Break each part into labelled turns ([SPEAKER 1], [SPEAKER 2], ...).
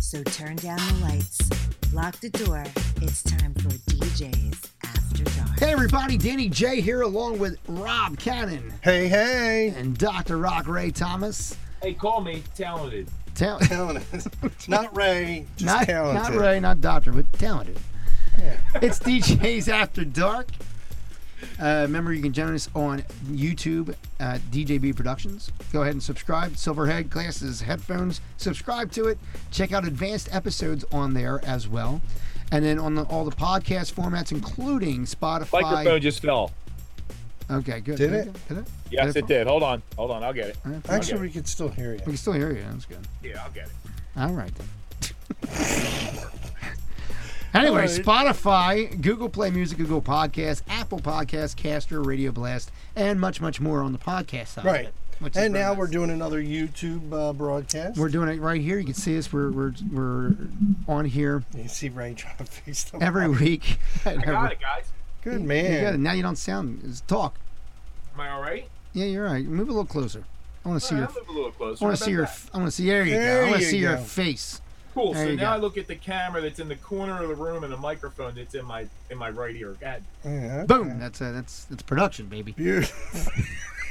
[SPEAKER 1] So turn down the lights, lock the door. It's time for DJ's After Dark.
[SPEAKER 2] Hey everybody, Danny J here along with Rob Cannon
[SPEAKER 3] Hey, hey.
[SPEAKER 2] and Dr. Rock Ray Thomas.
[SPEAKER 4] Hey, call me talented.
[SPEAKER 2] Tal-
[SPEAKER 3] Talented. not Ray, just
[SPEAKER 2] not,
[SPEAKER 3] talented.
[SPEAKER 2] not Ray, not Doctor, but talented. It's DJ's After Dark. Uh, remember, you can join us on YouTube at DJB Productions. Go ahead and subscribe. Silverhead glasses, headphones. Subscribe to it. Check out advanced episodes on there as well, and then on the, all the podcast formats, including Spotify.
[SPEAKER 4] Microphone just fell.
[SPEAKER 2] Okay, good.
[SPEAKER 3] Did it?
[SPEAKER 2] Did it?
[SPEAKER 4] Yes,
[SPEAKER 2] Did
[SPEAKER 4] it did. Hold on. Hold on. I'll get it.
[SPEAKER 3] Actually, we could still hear
[SPEAKER 2] We
[SPEAKER 3] you.
[SPEAKER 2] can still hear you. That's good.
[SPEAKER 4] Yeah, I'll get it.
[SPEAKER 2] All right then. anyway, Spotify, Google Play Music, Google Podcasts, Apple Podcasts, Caster, Radio Blast, and much, much more on the podcast side. Of
[SPEAKER 3] Right.
[SPEAKER 2] it, which is
[SPEAKER 3] And
[SPEAKER 2] very
[SPEAKER 3] now
[SPEAKER 2] nice.
[SPEAKER 3] we're doing another YouTube uh, broadcast.
[SPEAKER 2] We're doing it right here. You can see us. We're we're, we're on here
[SPEAKER 3] you see Ray trying to face the
[SPEAKER 2] every week.
[SPEAKER 4] I got it, guys.
[SPEAKER 3] Good
[SPEAKER 2] You got it.
[SPEAKER 3] man.
[SPEAKER 2] Now you don't sound as talk.
[SPEAKER 4] Am I all right?
[SPEAKER 2] Yeah, you're right. Move a little closer. I want to see
[SPEAKER 4] All
[SPEAKER 2] your.
[SPEAKER 4] right, I'll move a little closer.
[SPEAKER 2] I want
[SPEAKER 4] How
[SPEAKER 2] to see your.
[SPEAKER 4] about that?
[SPEAKER 2] I want to see. There you go.
[SPEAKER 3] There
[SPEAKER 2] I want to
[SPEAKER 3] you
[SPEAKER 2] see your
[SPEAKER 3] go.
[SPEAKER 2] face.
[SPEAKER 4] Cool.
[SPEAKER 2] there
[SPEAKER 4] So
[SPEAKER 2] you go.
[SPEAKER 4] now I look at the camera that's in the corner of the room and the microphone that's in my in my right ear. God,
[SPEAKER 3] Yeah.
[SPEAKER 2] Boom. That's uh, that's that's production, baby.
[SPEAKER 3] Beautiful.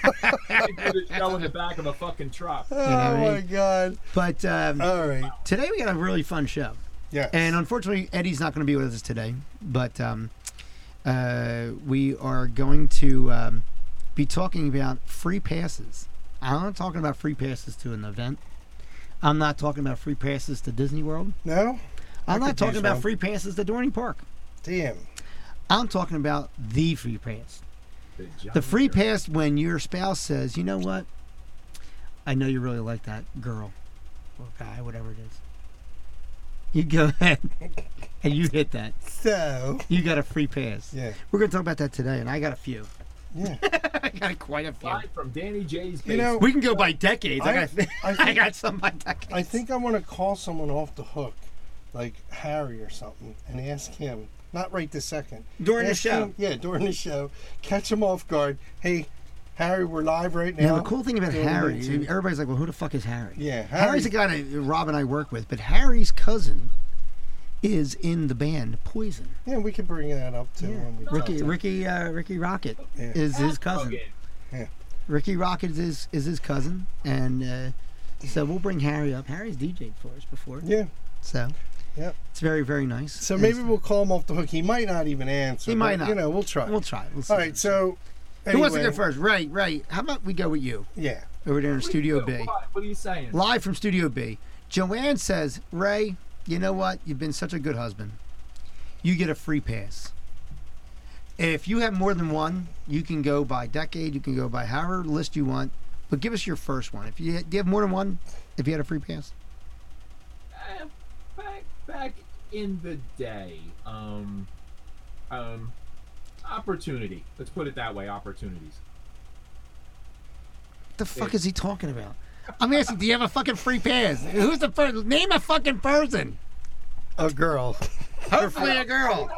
[SPEAKER 4] I could do this show in the back of a fucking truck.
[SPEAKER 3] Oh
[SPEAKER 2] what I
[SPEAKER 3] my God.
[SPEAKER 2] But um,
[SPEAKER 3] All right.
[SPEAKER 2] today we got a really fun show.
[SPEAKER 3] Yeah.
[SPEAKER 2] And unfortunately, Eddie's not going to be with us today, but um, uh, we are going to um, be talking about free passes. I'm not talking about free passes to an event. I'm not talking about free passes to Disney World.
[SPEAKER 3] no.
[SPEAKER 2] I'm
[SPEAKER 3] I
[SPEAKER 2] not
[SPEAKER 3] could
[SPEAKER 2] talking
[SPEAKER 3] use
[SPEAKER 2] about
[SPEAKER 3] one.
[SPEAKER 2] free passes to Dorney Park.
[SPEAKER 3] Damn.
[SPEAKER 2] I'm talking about the free pass.
[SPEAKER 4] Good
[SPEAKER 2] The
[SPEAKER 4] job.
[SPEAKER 2] free pass when your spouse says, you know what? I know you really like that girl or guy, whatever it is. You go ahead and you hit that.
[SPEAKER 3] So.
[SPEAKER 2] You got a free pass.
[SPEAKER 3] Yeah.
[SPEAKER 2] We're gonna talk about that today, and I got a few.
[SPEAKER 3] Yeah.
[SPEAKER 2] I got quite a few.
[SPEAKER 4] Live from Danny J's.
[SPEAKER 3] You know,
[SPEAKER 2] We can go by decades. I,
[SPEAKER 3] I-
[SPEAKER 2] got,
[SPEAKER 3] I
[SPEAKER 2] I,
[SPEAKER 3] think-
[SPEAKER 2] got some by decades.
[SPEAKER 3] I think I want to call someone off the hook, like Harry or something, and ask him. Not right this second.
[SPEAKER 2] During the
[SPEAKER 3] Ask
[SPEAKER 2] show.
[SPEAKER 3] him- yeah, during the show. Catch him off guard. Hey, Harry, we're live right now.
[SPEAKER 2] Now the cool thing about
[SPEAKER 3] During the
[SPEAKER 2] Harry,
[SPEAKER 3] meeting.
[SPEAKER 2] everybody's like, "Well, who the fuck is Harry?"
[SPEAKER 3] Yeah,
[SPEAKER 2] Harry's
[SPEAKER 3] Harry-
[SPEAKER 2] a guy that Rob and I work with, but Harry's cousin is in the band Poison.
[SPEAKER 3] Yeah, we can bring that up too. When we talk
[SPEAKER 2] Ricky,
[SPEAKER 3] to-
[SPEAKER 2] Ricky, uh, Ricky Rocket
[SPEAKER 3] Yeah.
[SPEAKER 2] is his cousin.
[SPEAKER 4] Again.
[SPEAKER 2] Ricky Rocket is his, is his cousin, and uh, so we'll bring Harry up. Harry's DJ'd for us before,
[SPEAKER 3] Yeah.
[SPEAKER 2] so
[SPEAKER 3] Yep.
[SPEAKER 2] it's very very nice.
[SPEAKER 3] So
[SPEAKER 2] And
[SPEAKER 3] maybe we'll call him off the hook. He might not even answer.
[SPEAKER 2] He might
[SPEAKER 3] but,
[SPEAKER 2] not.
[SPEAKER 3] You know, we'll try.
[SPEAKER 2] we'll try. it. We'll see.
[SPEAKER 3] All right. So. Anyway,
[SPEAKER 2] Who wants to go first? Ray, Ray, how about we go with you
[SPEAKER 3] Yeah.
[SPEAKER 2] over there in Studio
[SPEAKER 4] What-
[SPEAKER 2] B?
[SPEAKER 4] What are you saying?
[SPEAKER 2] Live from Studio B. Joanne says, Ray, you know what? You've been such a good husband. You get a free pass. If you have more than one, you can go by decade, you can go by however list you want, but give us your first one. If you, do you have more than one, if you had a free pass,
[SPEAKER 4] Uh, back back in the day, um, um, opportunity. Let's put it that way. Opportunities.
[SPEAKER 2] what the fuck is he talking about? I'm asking, do you have a fucking free pass? Who's the first? Name a fucking person.
[SPEAKER 3] A girl.
[SPEAKER 2] Hopefully a girl.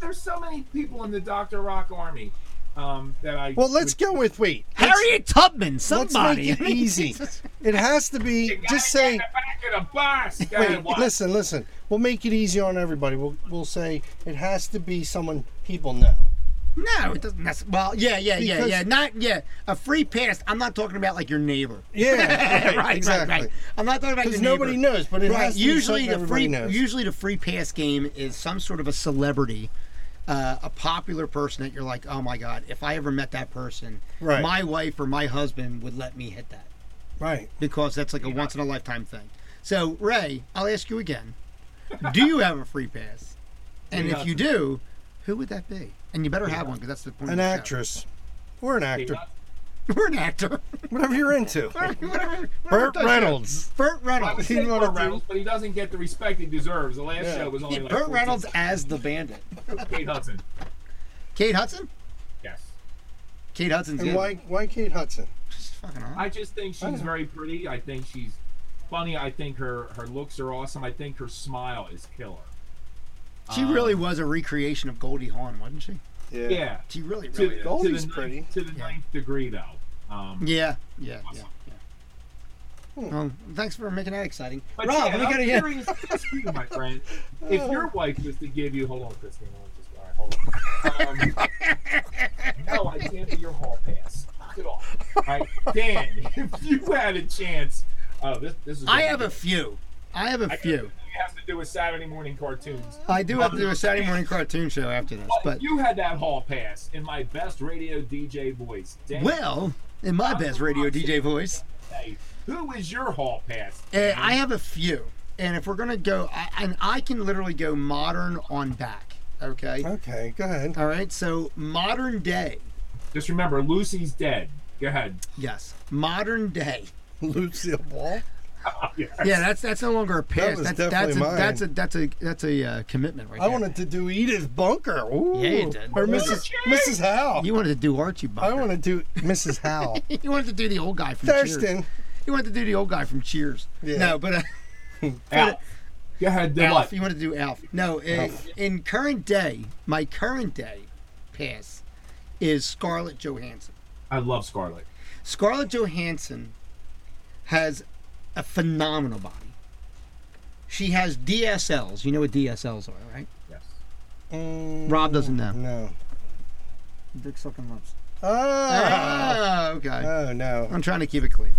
[SPEAKER 4] There's so many people in the Doctor Rock army um, that I.
[SPEAKER 3] Well, let's
[SPEAKER 4] would-
[SPEAKER 3] go with wait.
[SPEAKER 2] Harriet Tubman,
[SPEAKER 3] Let's
[SPEAKER 2] somebody.
[SPEAKER 3] make it easy. It has to be.
[SPEAKER 4] The guy
[SPEAKER 3] Just
[SPEAKER 4] in
[SPEAKER 3] say.
[SPEAKER 4] the back of the bus.
[SPEAKER 3] Wait,
[SPEAKER 4] God, what?
[SPEAKER 3] listen, listen. We'll make it easy on everybody. We'll, we'll say it has to be someone people know.
[SPEAKER 2] No, it doesn't. That's, well, yeah, yeah, yeah,
[SPEAKER 3] Because-
[SPEAKER 2] yeah. Not yeah. A free pass. I'm not talking about like your neighbor.
[SPEAKER 3] Yeah,
[SPEAKER 2] right, right, right. I'm not talking about your
[SPEAKER 3] Because
[SPEAKER 2] neighbor.
[SPEAKER 3] nobody knows, but it
[SPEAKER 2] Right.
[SPEAKER 3] has to
[SPEAKER 2] Usually
[SPEAKER 3] be something
[SPEAKER 2] the free
[SPEAKER 3] everybody knows.
[SPEAKER 2] usually the free pass game is some sort of a celebrity, uh, a popular person that you're like, oh my god, if I ever met that person,
[SPEAKER 3] Right.
[SPEAKER 2] my wife or my husband would let me hit that
[SPEAKER 3] right.
[SPEAKER 2] because that's like a once in a lifetime thing. So Ray, I'll ask you again: Do you have a free pass? And if you do, who would that be? And you better have one because that's the point. of
[SPEAKER 3] An
[SPEAKER 2] the show.
[SPEAKER 3] actress. Or an actor.
[SPEAKER 2] We're an actor.
[SPEAKER 3] Whatever you're into.
[SPEAKER 2] Whatever- whatever
[SPEAKER 3] Burt
[SPEAKER 2] does
[SPEAKER 3] Reynolds.
[SPEAKER 2] you- Burt
[SPEAKER 4] I would
[SPEAKER 2] Reynolds.
[SPEAKER 4] say
[SPEAKER 3] He's one
[SPEAKER 4] Burt
[SPEAKER 3] of the-
[SPEAKER 4] Reynolds, but he doesn't get the respect he deserves. The last
[SPEAKER 3] Yeah.
[SPEAKER 4] show was only
[SPEAKER 2] Yeah,
[SPEAKER 4] like
[SPEAKER 2] Burt
[SPEAKER 4] 14.
[SPEAKER 2] Reynolds as the bandit.
[SPEAKER 4] Kate Hudson.
[SPEAKER 2] Kate Hudson.
[SPEAKER 4] Yes.
[SPEAKER 2] Kate Hudson's
[SPEAKER 3] And
[SPEAKER 2] in.
[SPEAKER 3] why why Kate Hudson?
[SPEAKER 2] She's fucking hot.
[SPEAKER 4] I just think
[SPEAKER 3] Oh,
[SPEAKER 4] she's very pretty. I think she's funny. I think her her looks are awesome. I think her smile is killer.
[SPEAKER 2] She really was a recreation of Goldie Hawn, wasn't she?
[SPEAKER 4] Yeah.
[SPEAKER 2] She really,
[SPEAKER 4] To,
[SPEAKER 2] really.
[SPEAKER 4] to
[SPEAKER 2] is.
[SPEAKER 4] the
[SPEAKER 3] Goldie's
[SPEAKER 4] ninth,
[SPEAKER 3] pretty.
[SPEAKER 4] To the ninth degree, though. Um,
[SPEAKER 2] Yeah, yeah, yeah, yeah. Well, thanks for making that exciting.
[SPEAKER 4] But
[SPEAKER 2] Rob,
[SPEAKER 4] yeah,
[SPEAKER 2] we
[SPEAKER 4] I'm
[SPEAKER 2] gotta get.
[SPEAKER 4] curious as to you, my friend. If your wife was to give you, hold on, Christine, hold on, just all right, hold on. Um, no, I cancel your hall pass. Knock it off. All right, Dan, if you had a chance, oh, this this is.
[SPEAKER 2] I have a few. I have a
[SPEAKER 4] I
[SPEAKER 2] few.
[SPEAKER 4] It has to do with Saturday morning cartoons.
[SPEAKER 2] I do have to do a Saturday morning cartoon show after this,
[SPEAKER 4] But
[SPEAKER 2] but
[SPEAKER 4] if you had that hall pass in my best radio DJ voice. Dan,
[SPEAKER 2] well, in my best radio DJ voice,
[SPEAKER 4] hey, who is your hall pass?
[SPEAKER 2] uh,
[SPEAKER 3] Mm-hmm.
[SPEAKER 2] I have a few. And if we're gonna go, I, and I can literally go modern on back. Okay.
[SPEAKER 3] Okay, go ahead.
[SPEAKER 2] All right. So modern day.
[SPEAKER 4] Just remember, Lucy's dead. Go ahead.
[SPEAKER 2] Yes. Modern day.
[SPEAKER 3] Lucille Ball.
[SPEAKER 2] Yeah, that's that's no longer a pass.
[SPEAKER 3] was
[SPEAKER 2] that's that's a,
[SPEAKER 3] definitely mine.
[SPEAKER 2] that's a that's a that's a uh, commitment right
[SPEAKER 3] I
[SPEAKER 2] there.
[SPEAKER 3] wanted to do Edith Bunker. Ooh.
[SPEAKER 2] Yeah, you did.
[SPEAKER 3] Or Mrs. Mrs. Howe.
[SPEAKER 2] You wanted to do Archie Bunker.
[SPEAKER 3] I want to do Mrs. Howe.
[SPEAKER 2] You wanted to do the old guy from Cheers.
[SPEAKER 3] Thurston.
[SPEAKER 2] You wanted to do the old guy from Cheers.
[SPEAKER 3] Yeah.
[SPEAKER 2] No, but uh,
[SPEAKER 4] Alf. Go ahead. then
[SPEAKER 2] Alf.
[SPEAKER 4] what?
[SPEAKER 2] You wanted to do Alf. No, uh
[SPEAKER 3] Alf.
[SPEAKER 2] in current day, my current day pass is Scarlett Johansson.
[SPEAKER 4] I love Scarlet.
[SPEAKER 2] Scarlett Johansson has a phenomenal body. She has DSLs. You know what DSLs are, right?
[SPEAKER 4] Yes.
[SPEAKER 3] Mm,
[SPEAKER 2] Rob doesn't know.
[SPEAKER 3] No.
[SPEAKER 2] Mm-hmm. Dick sucking lips.
[SPEAKER 3] Oh,
[SPEAKER 2] Ah, okay.
[SPEAKER 3] oh no.
[SPEAKER 2] I'm trying to keep it clean.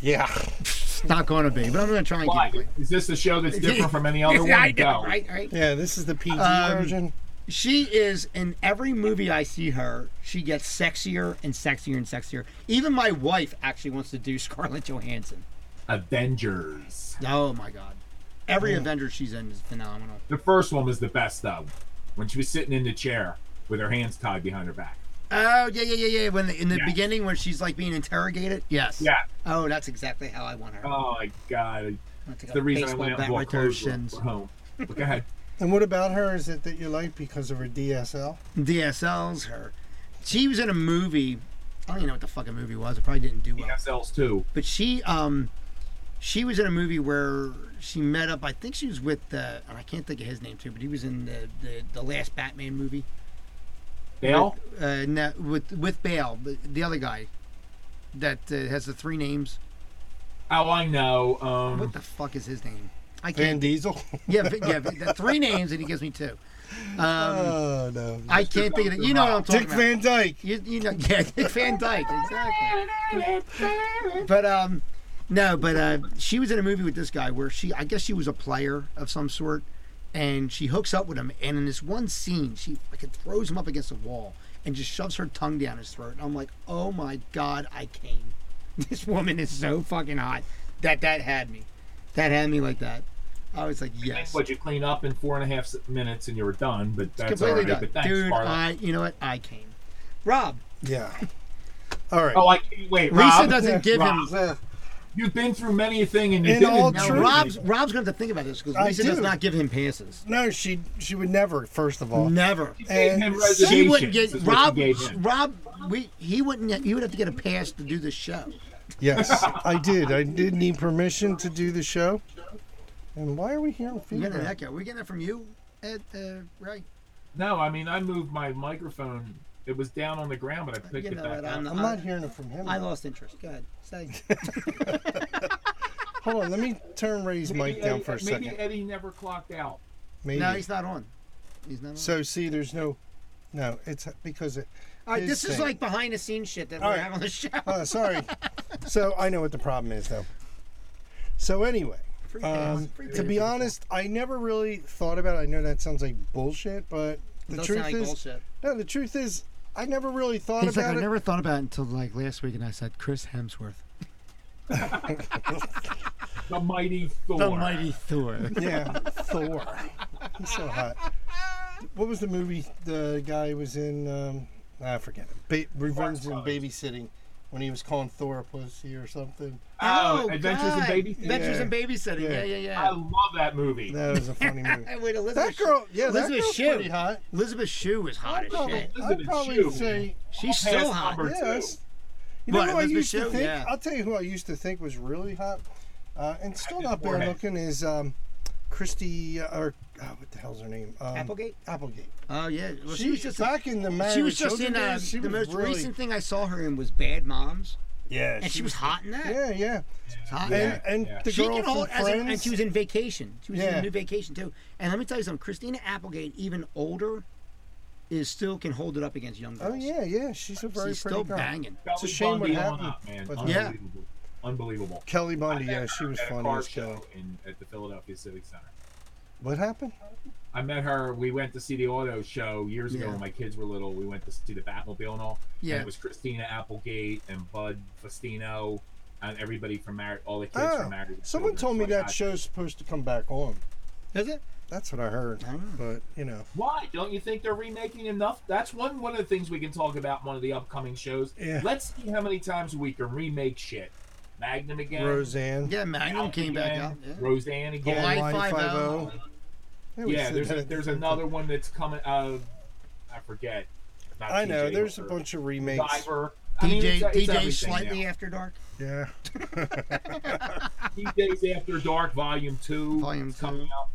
[SPEAKER 3] Yeah.
[SPEAKER 2] It's not going to be, but I'm going to try and
[SPEAKER 4] Why?
[SPEAKER 2] keep it clean.
[SPEAKER 4] Is this a show that's different from any other one?
[SPEAKER 2] I know,
[SPEAKER 4] No.
[SPEAKER 2] right? Right.
[SPEAKER 3] Yeah, this is the PG
[SPEAKER 2] Um,
[SPEAKER 3] version.
[SPEAKER 2] She is in every movie I see her. She gets sexier and sexier and sexier. Even my wife actually wants to do Scarlett Johansson.
[SPEAKER 4] Avengers.
[SPEAKER 2] Oh my God! Every Avenger she's in is phenomenal.
[SPEAKER 4] The first one was the best though, when she was sitting in the chair with her hands tied behind her back.
[SPEAKER 2] Oh yeah, yeah, yeah, yeah. When the, in the
[SPEAKER 4] Yeah.
[SPEAKER 2] beginning when she's like being interrogated. Yes.
[SPEAKER 4] Yeah.
[SPEAKER 2] Oh, that's exactly how I want her. I'm
[SPEAKER 4] Oh my god.
[SPEAKER 2] gonna take
[SPEAKER 4] It's
[SPEAKER 2] a
[SPEAKER 4] the reason I
[SPEAKER 2] baseball
[SPEAKER 4] went out
[SPEAKER 2] bat
[SPEAKER 4] and
[SPEAKER 2] right to her
[SPEAKER 4] clothes room
[SPEAKER 2] shins.
[SPEAKER 4] for home. But go ahead.
[SPEAKER 3] And what about her? Is it that you like because of her DSL?
[SPEAKER 2] DSLs her. She was in a movie. I don't even know what the fucking movie was. It probably didn't do well.
[SPEAKER 4] DSLs too.
[SPEAKER 2] But she um she was in a movie where she met up. I think she was with uh, and I can't think of his name too, but he was in the the, the last Batman movie.
[SPEAKER 4] Dale.
[SPEAKER 2] Uh, no, with with Bale, the, the other guy that uh, has the three names.
[SPEAKER 4] Oh, I know. Um,
[SPEAKER 2] What the fuck is his name? I
[SPEAKER 3] Van
[SPEAKER 2] can't.
[SPEAKER 3] Diesel.
[SPEAKER 2] Yeah, Vin- yeah, Vin- the three names, and he gives me two. Um,
[SPEAKER 3] oh no.
[SPEAKER 2] I can't think of it. You know what I'm talking
[SPEAKER 3] Dick
[SPEAKER 2] about.
[SPEAKER 3] Van Dyke.
[SPEAKER 2] You, you know, yeah, Dick Van Dyke, exactly. But um, no, but uh, she was in a movie with this guy where she, I guess she was a player of some sort, and she hooks up with him, and in this one scene, she fucking throws him up against the wall and just shoves her tongue down his throat. And I'm like, oh my god, I came. This woman is so fucking hot that that had me, that had me like that. I was like, yes.
[SPEAKER 4] What you clean up in four and a half s- minutes and you were done, but that's all
[SPEAKER 2] Completely
[SPEAKER 4] right.
[SPEAKER 2] done.
[SPEAKER 4] But thanks,
[SPEAKER 2] Dude,
[SPEAKER 4] Scarlett.
[SPEAKER 2] I, you know what? I came. Rob,
[SPEAKER 3] Yeah. All right.
[SPEAKER 4] Oh, I can't wait.
[SPEAKER 2] Lisa
[SPEAKER 4] Rob,
[SPEAKER 2] doesn't give him
[SPEAKER 4] Rob. you've been through many a thing and you
[SPEAKER 3] In
[SPEAKER 4] didn't.
[SPEAKER 3] all
[SPEAKER 2] Now
[SPEAKER 3] True.
[SPEAKER 2] Rob's Rob's gonna have to think about this because
[SPEAKER 3] I
[SPEAKER 2] Lisa does
[SPEAKER 3] do.
[SPEAKER 2] not give him passes.
[SPEAKER 3] No, she she would never. First of all,
[SPEAKER 2] Never.
[SPEAKER 4] Gave him
[SPEAKER 3] And
[SPEAKER 2] She
[SPEAKER 4] reservations,
[SPEAKER 2] wouldn't get
[SPEAKER 4] is what you
[SPEAKER 2] Rob.
[SPEAKER 4] gave him.
[SPEAKER 2] Rob, we he wouldn't. get- He would have to get a pass to do this show.
[SPEAKER 3] yes, I did. I did need permission to do the show. And why are we hearing
[SPEAKER 2] We getting an
[SPEAKER 3] feedback?
[SPEAKER 2] echo. We getting that from you, Ed, uh, Ray.
[SPEAKER 4] No, I mean I moved my microphone. It was down on the ground, but I picked
[SPEAKER 2] You
[SPEAKER 4] it
[SPEAKER 2] know
[SPEAKER 4] back
[SPEAKER 2] what?
[SPEAKER 4] up.
[SPEAKER 2] I'm,
[SPEAKER 3] I'm not hearing it from him.
[SPEAKER 2] I lost interest. Go ahead. Say.
[SPEAKER 3] Hold on, let me turn Ray's mic down for a
[SPEAKER 4] Eddie, maybe
[SPEAKER 3] second.
[SPEAKER 4] Eddie never clocked out.
[SPEAKER 3] Maybe.
[SPEAKER 2] no, he's not on. He's not on.
[SPEAKER 3] So see, there's no, no. It's because it.
[SPEAKER 2] All right,
[SPEAKER 3] his
[SPEAKER 2] this is
[SPEAKER 3] thing.
[SPEAKER 2] like behind the scenes shit that we
[SPEAKER 3] All
[SPEAKER 2] have
[SPEAKER 3] right.
[SPEAKER 2] on the show.
[SPEAKER 3] Oh, sorry. so I know what the problem is though. So anyway,
[SPEAKER 2] Free pass,
[SPEAKER 3] um,
[SPEAKER 2] free
[SPEAKER 3] to
[SPEAKER 2] pass.
[SPEAKER 3] be honest, I never really thought about. it. I know that sounds like bullshit, but the
[SPEAKER 2] Does
[SPEAKER 3] truth
[SPEAKER 2] sound like
[SPEAKER 3] is,
[SPEAKER 2] bullshit.
[SPEAKER 3] no. The truth is, I never really thought
[SPEAKER 5] He's like,
[SPEAKER 3] about
[SPEAKER 5] I
[SPEAKER 3] it.
[SPEAKER 5] never thought about it until like last week, and I said Chris Hemsworth,
[SPEAKER 4] The mighty Thor.
[SPEAKER 5] the mighty Thor.
[SPEAKER 3] Yeah, Thor. He's so hot. What was the movie the guy was in? Um, I forget it. Ba- Revenge and
[SPEAKER 4] Brothers.
[SPEAKER 3] Babysitting when he was calling Thor a pussy or something.
[SPEAKER 4] Oh, Adventures in
[SPEAKER 2] God.
[SPEAKER 4] Babysitting.
[SPEAKER 2] Adventures
[SPEAKER 3] Yeah.
[SPEAKER 2] in babysitting. Yeah,
[SPEAKER 3] Yeah.
[SPEAKER 2] yeah,
[SPEAKER 4] I
[SPEAKER 2] yeah.
[SPEAKER 4] love that movie.
[SPEAKER 3] That was a funny movie.
[SPEAKER 2] Wait, Elizabeth
[SPEAKER 3] that
[SPEAKER 2] Shue-
[SPEAKER 3] girl, yeah, that
[SPEAKER 2] Elizabeth
[SPEAKER 3] girl's
[SPEAKER 2] Shue.
[SPEAKER 3] pretty hot.
[SPEAKER 2] Elizabeth Shue is hot
[SPEAKER 3] I'd
[SPEAKER 2] as
[SPEAKER 3] probably,
[SPEAKER 2] shit.
[SPEAKER 3] I'd
[SPEAKER 4] Elizabeth
[SPEAKER 3] probably
[SPEAKER 4] Shue.
[SPEAKER 3] say
[SPEAKER 2] She's
[SPEAKER 4] I'll pass
[SPEAKER 2] so hot.
[SPEAKER 4] number two.
[SPEAKER 3] yes. You
[SPEAKER 2] What,
[SPEAKER 3] know who I
[SPEAKER 2] Elizabeth
[SPEAKER 3] used to
[SPEAKER 2] Shue?
[SPEAKER 3] think?
[SPEAKER 2] Yeah.
[SPEAKER 3] I'll tell you who I used to think was really hot, uh, and still
[SPEAKER 4] Happy
[SPEAKER 3] not bad
[SPEAKER 4] forehead.
[SPEAKER 3] looking is um, Christy uh, or oh, what the hell's her name? Um,
[SPEAKER 2] Applegate?
[SPEAKER 3] Applegate.
[SPEAKER 2] Oh yeah, well, she,
[SPEAKER 3] she
[SPEAKER 2] was just
[SPEAKER 3] back in the marriage.
[SPEAKER 2] she was just in uh,
[SPEAKER 3] days, she
[SPEAKER 2] the
[SPEAKER 3] was
[SPEAKER 2] most
[SPEAKER 3] really,
[SPEAKER 2] recent thing I saw her in was Bad Moms.
[SPEAKER 3] Yeah.
[SPEAKER 6] and she was hot in that.
[SPEAKER 3] Yeah, yeah.
[SPEAKER 6] It's hot.
[SPEAKER 3] And,
[SPEAKER 6] Yeah.
[SPEAKER 3] and
[SPEAKER 4] Yeah.
[SPEAKER 3] the
[SPEAKER 6] She
[SPEAKER 3] girl
[SPEAKER 6] can
[SPEAKER 3] from
[SPEAKER 6] hold as a, and
[SPEAKER 3] Friends.
[SPEAKER 6] she was in vacation. She was in
[SPEAKER 3] Yeah.
[SPEAKER 6] a new vacation too. And let me tell you something, Christina Applegate, even older, is still can hold it up against young girls.
[SPEAKER 3] oh yeah, yeah. She's a very
[SPEAKER 6] She's
[SPEAKER 3] pretty
[SPEAKER 6] still
[SPEAKER 3] girl.
[SPEAKER 6] banging.
[SPEAKER 4] It's
[SPEAKER 3] a shame what happened,
[SPEAKER 4] Up, man.
[SPEAKER 3] but-
[SPEAKER 6] Yeah.
[SPEAKER 4] Unbelievable. Unbelievable.
[SPEAKER 3] Kelly
[SPEAKER 4] I
[SPEAKER 3] Bundy.
[SPEAKER 4] met
[SPEAKER 3] Yeah,
[SPEAKER 4] her
[SPEAKER 3] she was
[SPEAKER 4] at a
[SPEAKER 3] funny
[SPEAKER 4] car
[SPEAKER 3] as Kelly.
[SPEAKER 4] show in, at the Philadelphia Civic Center.
[SPEAKER 3] What happened?
[SPEAKER 4] I met her. We went to see the auto show years ago
[SPEAKER 2] Yeah.
[SPEAKER 4] when my kids were little. We went to see the Batmobile and all.
[SPEAKER 2] Yeah.
[SPEAKER 4] And it was Christina Applegate and Bud Festino and everybody from Married, all the kids
[SPEAKER 3] Oh,
[SPEAKER 4] from Married. with
[SPEAKER 3] someone
[SPEAKER 4] Children.
[SPEAKER 3] told me
[SPEAKER 4] So I
[SPEAKER 3] that
[SPEAKER 4] got-
[SPEAKER 3] show's supposed to come back on.
[SPEAKER 6] Is it?
[SPEAKER 3] That's what I heard. But you know,
[SPEAKER 4] Why don't you think they're remaking enough? That's one one of the things we can talk about in one of the upcoming shows.
[SPEAKER 3] Yeah.
[SPEAKER 4] Let's see how many times we can remake shit. Magnum again.
[SPEAKER 3] Roseanne.
[SPEAKER 2] Yeah, Magnum
[SPEAKER 4] Alf
[SPEAKER 2] came back
[SPEAKER 4] again,
[SPEAKER 2] out. Yeah.
[SPEAKER 4] Roseanne again.
[SPEAKER 2] Hawaii
[SPEAKER 3] Hawaii
[SPEAKER 2] 5-0.
[SPEAKER 3] 5-0.
[SPEAKER 4] Yeah,
[SPEAKER 3] said
[SPEAKER 4] there's
[SPEAKER 3] that
[SPEAKER 4] a,
[SPEAKER 3] at
[SPEAKER 4] there's
[SPEAKER 3] the-
[SPEAKER 4] another one that's coming. Uh, I forget. Not
[SPEAKER 3] I know.
[SPEAKER 4] TJ
[SPEAKER 3] There's a
[SPEAKER 4] Hooker.
[SPEAKER 3] bunch of remakes.
[SPEAKER 4] Diver. I mean,
[SPEAKER 2] DJ,
[SPEAKER 4] it's- it's
[SPEAKER 2] DJ
[SPEAKER 4] everything
[SPEAKER 2] slightly
[SPEAKER 4] now.
[SPEAKER 2] after dark.
[SPEAKER 3] Yeah.
[SPEAKER 4] DJ's After Dark Volume Two.
[SPEAKER 2] Volume
[SPEAKER 4] is coming out.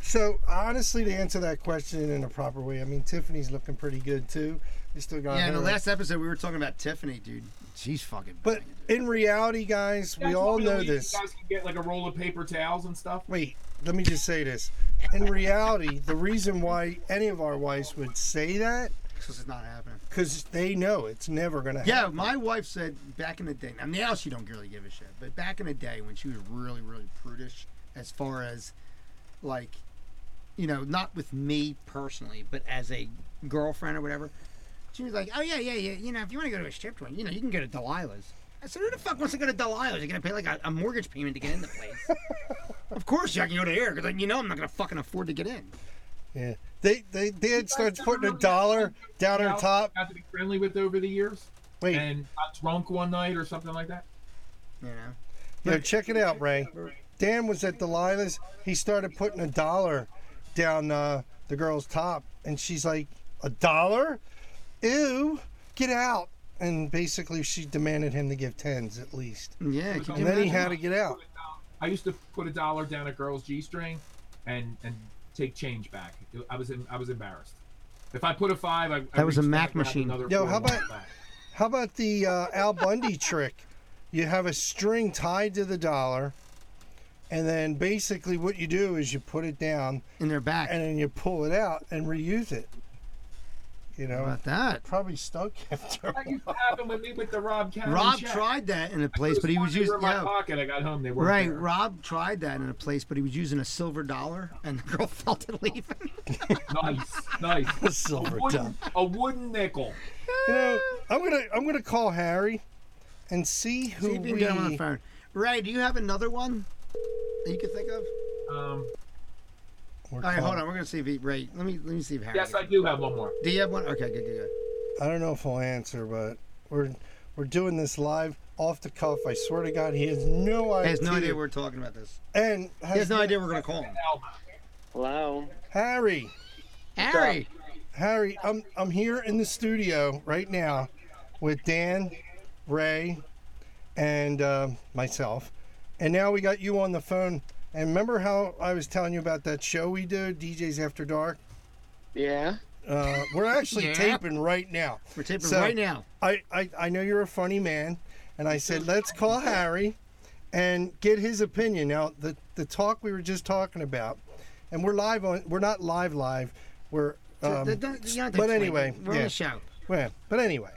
[SPEAKER 3] So honestly, to answer that question in a proper way, I mean Tiffany's looking pretty good too. They still got
[SPEAKER 2] Yeah, in
[SPEAKER 3] her.
[SPEAKER 2] the last episode we were talking about Tiffany, dude. She's fucking.
[SPEAKER 3] but in reality, guys, we
[SPEAKER 4] That's
[SPEAKER 3] all
[SPEAKER 4] what
[SPEAKER 3] know
[SPEAKER 4] we-
[SPEAKER 3] this.
[SPEAKER 4] You guys can get like a roll of paper towels and stuff.
[SPEAKER 3] Wait, let me just say this. In reality, the reason why any of our wives would say that,
[SPEAKER 2] this is not happening.
[SPEAKER 3] because they know it's never gonna happen.
[SPEAKER 2] Yeah, my wife said back in the day. Now, now she don't really give a shit, but back in the day when she was really, really prudish, as far as like, you know, not with me personally, but as a girlfriend or whatever, she was like, "Oh yeah, yeah, yeah. You know, if you want to go to a strip joint, you know, you can go to Delilah's." I said, "Who the fuck wants to go to Delilah's? You're gonna pay like a, a mortgage payment to get in the place." of course, yeah, I can go to here because you know I'm not gonna fucking afford to get in.
[SPEAKER 3] Yeah. They they did start
[SPEAKER 4] guys
[SPEAKER 3] putting a
[SPEAKER 4] remember
[SPEAKER 3] dollar down
[SPEAKER 4] Towels
[SPEAKER 3] on top.
[SPEAKER 4] I've had to be friendly with over the years.
[SPEAKER 3] Wait,
[SPEAKER 4] And got drunk one night or something like that.
[SPEAKER 2] You know.
[SPEAKER 3] Now check it out, Ray. Dan was at Delilah's. He started putting a dollar down uh, the girl's top, and she's like, "A dollar? Ew! Get out!" And basically, she demanded him to give tens at least.
[SPEAKER 2] Yeah.
[SPEAKER 4] Because
[SPEAKER 2] Could
[SPEAKER 4] I
[SPEAKER 2] you
[SPEAKER 3] And then he
[SPEAKER 2] imagine?
[SPEAKER 3] had to get out.
[SPEAKER 4] I used to put a dollar down a girl's g string, and and take change back. I was in, I was embarrassed. If I put a five, I, I
[SPEAKER 2] That was a
[SPEAKER 4] reached
[SPEAKER 2] Mac
[SPEAKER 4] out and grabbed
[SPEAKER 2] machine.
[SPEAKER 4] another
[SPEAKER 3] Yo,
[SPEAKER 4] four
[SPEAKER 3] how
[SPEAKER 4] and walked
[SPEAKER 3] about-
[SPEAKER 4] back.
[SPEAKER 3] How about the uh, Al Bundy trick? You have a string tied to the dollar, and then basically what you do is you put it down,
[SPEAKER 2] in their back.
[SPEAKER 3] and then you pull it out and reuse it. You
[SPEAKER 2] How
[SPEAKER 3] know,
[SPEAKER 2] about that?
[SPEAKER 3] probably stunk after. a
[SPEAKER 4] That
[SPEAKER 3] while.
[SPEAKER 4] used to happen with me with the Rob County
[SPEAKER 2] Rob
[SPEAKER 4] check.
[SPEAKER 2] tried that in a
[SPEAKER 4] It
[SPEAKER 2] place, but he was
[SPEAKER 4] funny, they
[SPEAKER 2] using
[SPEAKER 4] were in my
[SPEAKER 2] yeah,
[SPEAKER 4] pocket. I got home. They were
[SPEAKER 2] right.
[SPEAKER 4] There.
[SPEAKER 2] Rob tried that in a place, but he was using a silver dollar, and the girl felt it leaving.
[SPEAKER 4] Nice, nice.
[SPEAKER 3] A silver
[SPEAKER 4] Wooden, a wooden nickel.
[SPEAKER 3] You know, I'm gonna I'm gonna call Harry and see who
[SPEAKER 2] See if you can
[SPEAKER 3] we.
[SPEAKER 2] get him on the phone. Ray, do you have another one that you can think of?
[SPEAKER 4] Um,
[SPEAKER 3] we're
[SPEAKER 2] All right, hold
[SPEAKER 3] calling.
[SPEAKER 2] on. We're gonna see if he, Ray. Let me let me see if Harry.
[SPEAKER 4] yes, I do have one more.
[SPEAKER 2] do you have one? Okay, good, good, good.
[SPEAKER 3] I don't know if he'll answer, but we're we're doing this live off the cuff. I swear to God, he has no idea.
[SPEAKER 2] He has no idea we're talking about this.
[SPEAKER 3] and
[SPEAKER 2] He has no idea we're gonna call him.
[SPEAKER 4] Now,
[SPEAKER 7] Hello.
[SPEAKER 3] Harry,
[SPEAKER 2] Harry,
[SPEAKER 3] Harry, I'm I'm here in the studio right now with Dan, Ray, and uh, myself, and now we got you on the phone. And remember how I was telling you about that show we do, DJs After Dark?
[SPEAKER 7] Yeah.
[SPEAKER 3] Uh, we're actually
[SPEAKER 2] Yeah.
[SPEAKER 3] taping right now.
[SPEAKER 2] we're taping
[SPEAKER 3] So-
[SPEAKER 2] right now.
[SPEAKER 3] I, I, I know you're a funny man, and I said, let's call Harry and get his opinion. Now, the, the talk we were just talking about, and we're live on, we're not live live, we're,
[SPEAKER 2] Don't-
[SPEAKER 3] um,
[SPEAKER 2] don't- you don't have to
[SPEAKER 3] but
[SPEAKER 2] explain
[SPEAKER 3] anyway,
[SPEAKER 2] it. we're on
[SPEAKER 3] yeah.
[SPEAKER 2] the show.
[SPEAKER 3] well, but anyway,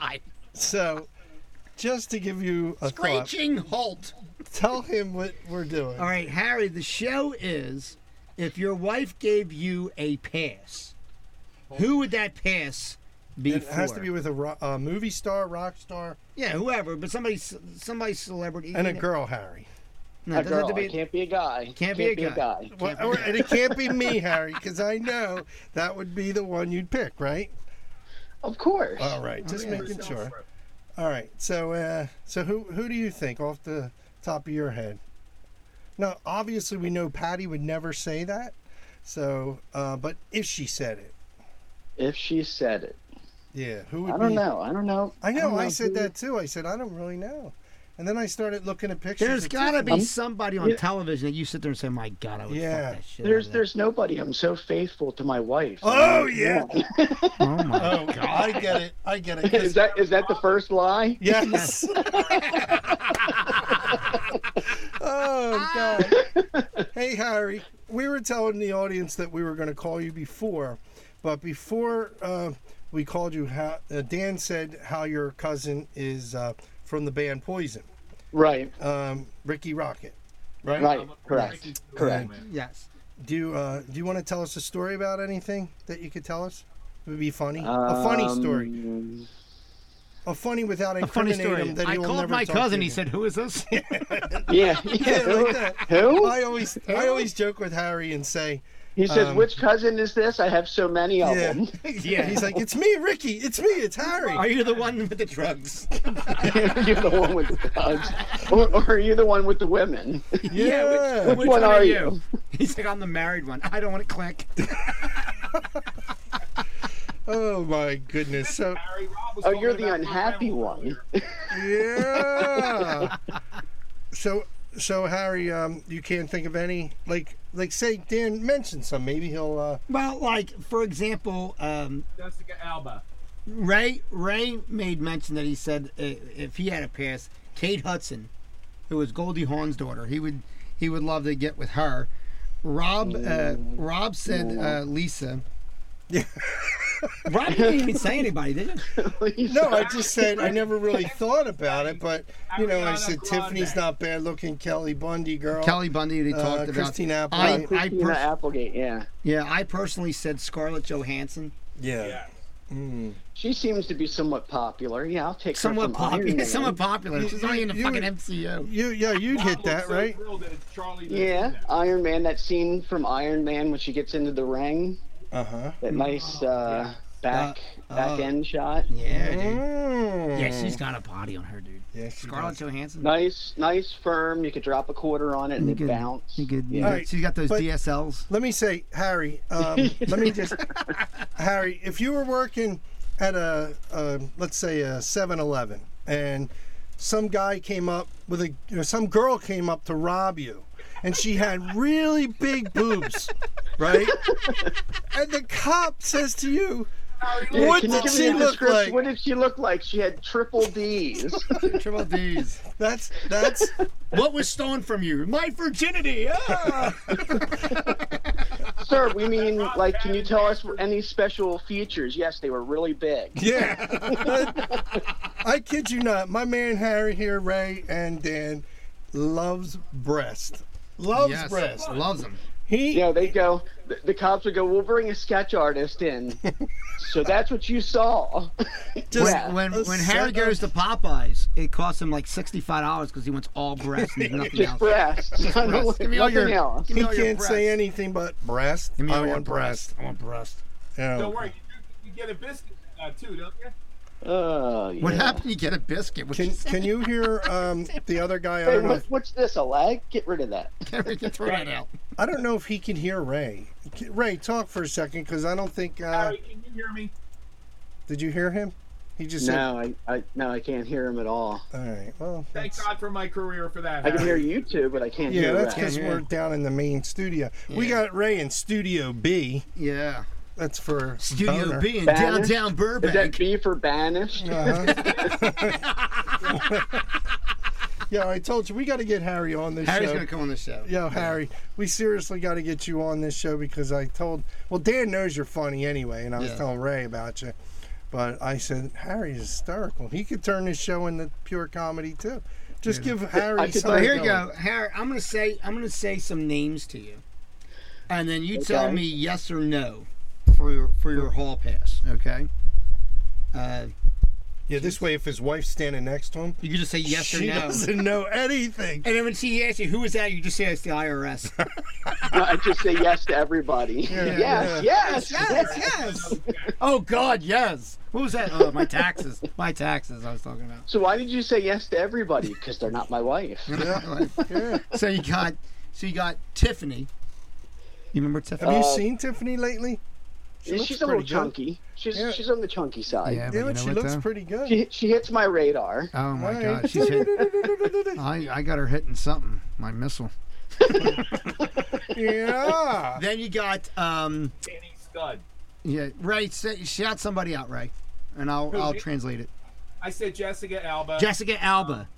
[SPEAKER 2] I,
[SPEAKER 3] so just to give you a thought,
[SPEAKER 2] screeching halt.
[SPEAKER 3] tell him what we're doing.
[SPEAKER 2] All right, Harry, the show is if your wife gave you a pass, who would that pass be
[SPEAKER 3] It
[SPEAKER 2] for?
[SPEAKER 3] has to be with a, ro- a movie star, rock star,
[SPEAKER 2] yeah, whoever, but somebody, somebody celebrity.
[SPEAKER 3] and a
[SPEAKER 2] you know.
[SPEAKER 3] girl, Harry.
[SPEAKER 2] No,
[SPEAKER 7] A
[SPEAKER 2] it doesn't
[SPEAKER 7] girl.
[SPEAKER 2] have to
[SPEAKER 7] I
[SPEAKER 2] be.
[SPEAKER 7] can't be a guy.
[SPEAKER 2] Can't be a guy.
[SPEAKER 3] Well, and it can't be me, Harry, because I know that would be the one you'd pick, right?
[SPEAKER 7] Of course.
[SPEAKER 3] All right, just making sure. All right, so uh, so who who do you think off the top of your head? Now, obviously, we know Patty would never say that. So, uh, but if she said it,
[SPEAKER 7] if she said it,
[SPEAKER 3] yeah, who would?
[SPEAKER 7] I don't
[SPEAKER 3] be-
[SPEAKER 7] know. I don't know.
[SPEAKER 3] I know.
[SPEAKER 7] don't
[SPEAKER 3] I said
[SPEAKER 7] who-
[SPEAKER 3] that too. I said I don't really know. And then I started looking at pictures.
[SPEAKER 2] There's
[SPEAKER 3] of
[SPEAKER 2] gotta
[SPEAKER 3] Tiffany.
[SPEAKER 2] be somebody on
[SPEAKER 7] Yeah.
[SPEAKER 2] television that you sit there and say, "My God, I would
[SPEAKER 3] Yeah.
[SPEAKER 2] fuck that shit."
[SPEAKER 7] There's
[SPEAKER 2] out of
[SPEAKER 7] there's nobody. I'm so faithful to my wife.
[SPEAKER 3] Oh yeah.
[SPEAKER 2] that." Oh my.
[SPEAKER 3] Oh, I get it. I get it. 'Cause-
[SPEAKER 7] is that is that the first lie?
[SPEAKER 3] Yes. oh God. Hey Harry, we were telling the audience that we were going to call you before, but before uh, we called you, how, uh, Dan said how your cousin is uh, from the band Poison,
[SPEAKER 7] Right.
[SPEAKER 3] um, Ricky Rocket. Right.
[SPEAKER 7] Right. Correct. Correct.
[SPEAKER 2] Yes.
[SPEAKER 3] Do you uh, do you want to tell us a story about anything that you could tell us? It would be funny. a funny story.
[SPEAKER 7] Um,
[SPEAKER 3] A funny without
[SPEAKER 8] A funny
[SPEAKER 3] incriminating
[SPEAKER 8] story.
[SPEAKER 3] him that
[SPEAKER 8] I
[SPEAKER 3] he will
[SPEAKER 8] called
[SPEAKER 3] never
[SPEAKER 8] my
[SPEAKER 3] talk to
[SPEAKER 8] cousin.
[SPEAKER 3] you
[SPEAKER 8] He
[SPEAKER 3] again.
[SPEAKER 8] said, "Who is this?"
[SPEAKER 7] Yeah.
[SPEAKER 3] Yeah,
[SPEAKER 7] Who?
[SPEAKER 3] like that.
[SPEAKER 7] Who?
[SPEAKER 3] I always I always joke with Harry and say
[SPEAKER 7] He says,
[SPEAKER 3] um,
[SPEAKER 7] "Which cousin is this? I have so many of
[SPEAKER 3] Yeah.
[SPEAKER 7] them."
[SPEAKER 8] yeah.
[SPEAKER 3] he's like it's me Ricky it's me it's Harry
[SPEAKER 8] Are you the one with the drugs?
[SPEAKER 7] You're the one with the dogs, or, or are you the one with the women?
[SPEAKER 3] yeah
[SPEAKER 7] Which one are you?
[SPEAKER 8] He's like, I'm the married one. I don't want to click.
[SPEAKER 3] oh my goodness so
[SPEAKER 4] Harry Rob was
[SPEAKER 7] Oh,
[SPEAKER 4] talking
[SPEAKER 7] you're the
[SPEAKER 4] about
[SPEAKER 7] unhappy
[SPEAKER 4] Rob
[SPEAKER 7] one.
[SPEAKER 3] yeah so so Harry um you can't think of any like like say Dan mentioned some maybe he'll uh
[SPEAKER 2] Well, like for example, um,
[SPEAKER 4] Jessica Alba.
[SPEAKER 2] Ray Ray made mention that he said uh, if he had a pass, Kate Hudson, who was Goldie Hawn's daughter, he would he would love to get with her.
[SPEAKER 8] Rob uh,
[SPEAKER 3] Mm.
[SPEAKER 8] Rob said uh, Lisa.
[SPEAKER 2] Rob, you didn't even say anybody, did you?
[SPEAKER 3] no I just said I never really thought about it but you know I said
[SPEAKER 4] Ariana Grande.
[SPEAKER 3] Tiffany's not bad looking Kelly Bundy girl
[SPEAKER 8] Kelly Bundy. They
[SPEAKER 3] uh,
[SPEAKER 8] talked about.
[SPEAKER 3] Christina
[SPEAKER 8] I,
[SPEAKER 3] Applegate
[SPEAKER 8] I
[SPEAKER 7] Christina
[SPEAKER 8] pers-
[SPEAKER 7] Applegate. Yeah,
[SPEAKER 2] Yeah, I personally said Scarlett Johansson.
[SPEAKER 3] yeah
[SPEAKER 4] Yeah.
[SPEAKER 7] she seems to be somewhat popular. Yeah, I'll take her
[SPEAKER 2] Somewhat
[SPEAKER 7] from Iron
[SPEAKER 2] popular.
[SPEAKER 7] Man.
[SPEAKER 2] Somewhat popular. She's only in the
[SPEAKER 3] you-
[SPEAKER 2] fucking MCU.
[SPEAKER 3] you yeah you'd
[SPEAKER 4] Rob
[SPEAKER 3] hit
[SPEAKER 4] looked
[SPEAKER 3] that
[SPEAKER 4] so
[SPEAKER 3] right
[SPEAKER 4] thrilled that it's Charlie Day
[SPEAKER 7] Yeah,
[SPEAKER 4] in there.
[SPEAKER 7] Iron Man. That scene from Iron Man when she gets into the ring.
[SPEAKER 3] uh huh
[SPEAKER 7] That nice uh, back back end shot.
[SPEAKER 2] Yeah, dude.
[SPEAKER 3] Mm.
[SPEAKER 2] Yeah, she's got a body on her, dude.
[SPEAKER 3] Yeah, she
[SPEAKER 2] Scarlett
[SPEAKER 3] does.
[SPEAKER 2] Johansson.
[SPEAKER 7] Nice, nice firm. You could drop a quarter on it and it bounce.
[SPEAKER 8] Good,
[SPEAKER 7] Yeah.
[SPEAKER 8] yeah.
[SPEAKER 3] Alright,
[SPEAKER 8] She's got those
[SPEAKER 3] but-
[SPEAKER 8] DSLs.
[SPEAKER 3] Let me say, Harry. Um, let me just, Harry. If you were working at a, a let's say a 7-Eleven, and some guy came up with a, or some girl came up to rob you, and she had really big boobs, right? And the cop says to you,
[SPEAKER 7] Oh, Yeah,
[SPEAKER 3] "What
[SPEAKER 7] can
[SPEAKER 3] did
[SPEAKER 7] you give me
[SPEAKER 3] she
[SPEAKER 7] a
[SPEAKER 3] look
[SPEAKER 7] description?
[SPEAKER 3] like?"
[SPEAKER 7] What did she look like? She had triple D's.
[SPEAKER 8] Triple D's.
[SPEAKER 3] That's that's
[SPEAKER 8] what was stolen from you? My virginity. Ah!
[SPEAKER 7] Sir, we mean like, can you tell us any special features? Yes, they were really big.
[SPEAKER 3] Yeah. I kid you not. My man Harry here, Ray and Dan, loves breast. Loves
[SPEAKER 8] yes.
[SPEAKER 3] breast.
[SPEAKER 8] Loves them.
[SPEAKER 3] He
[SPEAKER 7] You know, they go. The, the cops would go. We'll bring a sketch artist in. so that's what you saw.
[SPEAKER 3] just
[SPEAKER 7] Yeah.
[SPEAKER 2] When
[SPEAKER 3] a
[SPEAKER 2] when
[SPEAKER 3] set
[SPEAKER 2] Harry
[SPEAKER 3] of-
[SPEAKER 2] goes to Popeyes, it costs him like sixty five dollars because he wants all breasts and nothing
[SPEAKER 7] Just
[SPEAKER 2] else.
[SPEAKER 7] breasts. I don't
[SPEAKER 8] breasts.
[SPEAKER 7] look
[SPEAKER 8] Give
[SPEAKER 7] at
[SPEAKER 8] me all
[SPEAKER 7] nothing
[SPEAKER 8] your-
[SPEAKER 7] else.
[SPEAKER 8] Give me
[SPEAKER 3] he
[SPEAKER 8] all your
[SPEAKER 3] can't
[SPEAKER 8] breasts.
[SPEAKER 3] say anything but breast.
[SPEAKER 8] Give me
[SPEAKER 3] I
[SPEAKER 8] all your
[SPEAKER 3] want
[SPEAKER 8] breasts.
[SPEAKER 3] breast. Oh.
[SPEAKER 8] I want breast.
[SPEAKER 3] Yeah.
[SPEAKER 4] Don't worry, you, you get a biscuit uh, too, don't you?
[SPEAKER 7] Oh, yeah.
[SPEAKER 8] What happened? You get a biscuit. What
[SPEAKER 3] Can
[SPEAKER 8] you say?
[SPEAKER 3] can you hear um, the other guy? I
[SPEAKER 7] Hey,
[SPEAKER 3] don't, know
[SPEAKER 7] what,
[SPEAKER 3] if,
[SPEAKER 7] what's this? A leg? Get rid of that.
[SPEAKER 8] We can throw that out.
[SPEAKER 3] I don't know if he can hear Ray. Can- Ray, talk for a second, because I don't think. Uh,
[SPEAKER 4] Harry, can you hear me?
[SPEAKER 3] did you hear him? He just
[SPEAKER 7] No, I, I no, I can't hear him at all.
[SPEAKER 3] said. All right. Well.
[SPEAKER 4] Thank
[SPEAKER 3] that's-
[SPEAKER 4] God for my career for that.
[SPEAKER 7] I can hear
[SPEAKER 4] Harry.
[SPEAKER 7] you too, but I can't
[SPEAKER 3] Yeah,
[SPEAKER 7] hear.
[SPEAKER 3] that's
[SPEAKER 7] Ray.
[SPEAKER 3] because we're down in the main studio. We
[SPEAKER 8] Yeah.
[SPEAKER 3] got Ray in Studio B.
[SPEAKER 8] Yeah.
[SPEAKER 3] That's for
[SPEAKER 8] Studio
[SPEAKER 3] boner.
[SPEAKER 8] B in
[SPEAKER 7] Banner?
[SPEAKER 8] downtown
[SPEAKER 7] Is that
[SPEAKER 8] Burbank.
[SPEAKER 7] B for banished?
[SPEAKER 3] Uh-huh. yeah, I told you we got to get Harry on this
[SPEAKER 8] Harry's
[SPEAKER 3] show.
[SPEAKER 8] gonna come on the show.
[SPEAKER 3] Yo, Harry, we seriously got to get you on this show because I told. Well, Dan knows you're funny anyway, and I was
[SPEAKER 8] Yeah.
[SPEAKER 3] telling Ray about you. But I said Harry's hysterical. He could turn this show into pure comedy too. Just give Harry.
[SPEAKER 7] I could-
[SPEAKER 3] something
[SPEAKER 2] So here you
[SPEAKER 3] going.
[SPEAKER 2] go, Harry. I'm gonna say I'm gonna say some names to you, and then you tell
[SPEAKER 7] Okay.
[SPEAKER 2] me yes or no for your for your hall pass. Okay. Uh,
[SPEAKER 3] Yeah, this way, if his wife's standing next to him,
[SPEAKER 2] you can just say yes
[SPEAKER 3] she
[SPEAKER 2] or no.
[SPEAKER 3] doesn't know anything.
[SPEAKER 2] And then when she asks you who is that, you just say it's the IRS.
[SPEAKER 7] No, I just say yes to everybody. yes, yes, yes,
[SPEAKER 2] yes. oh God, yes. What was that? Oh, my taxes. My taxes. I was talking about.
[SPEAKER 7] So why did you say yes to everybody? Because they're not my wife.
[SPEAKER 2] So you got, so you got Tiffany. You remember Tiffany?
[SPEAKER 3] Have you
[SPEAKER 7] Uh,
[SPEAKER 3] seen Tiffany lately? She
[SPEAKER 7] Yeah,
[SPEAKER 3] looks
[SPEAKER 7] she's a little
[SPEAKER 3] pretty good.
[SPEAKER 7] chunky. She's
[SPEAKER 3] Yeah.
[SPEAKER 7] she's on the chunky
[SPEAKER 9] Uh,
[SPEAKER 7] side.
[SPEAKER 9] Yeah, but
[SPEAKER 3] Dude,
[SPEAKER 9] you know
[SPEAKER 3] she
[SPEAKER 9] what,
[SPEAKER 3] looks
[SPEAKER 9] though?
[SPEAKER 3] pretty good.
[SPEAKER 7] She she hits my radar.
[SPEAKER 9] Oh my
[SPEAKER 3] Alright.
[SPEAKER 9] god, she's hit. I I got her hitting something. My missile.
[SPEAKER 3] yeah.
[SPEAKER 2] Then you got um,
[SPEAKER 4] Danny Scud.
[SPEAKER 9] Yeah,
[SPEAKER 2] Ray. Say, shout somebody out, Ray, and I'll
[SPEAKER 4] Who,
[SPEAKER 2] I'll
[SPEAKER 4] me?
[SPEAKER 2] translate it.
[SPEAKER 4] I said Jessica Alba.
[SPEAKER 2] Jessica Alba.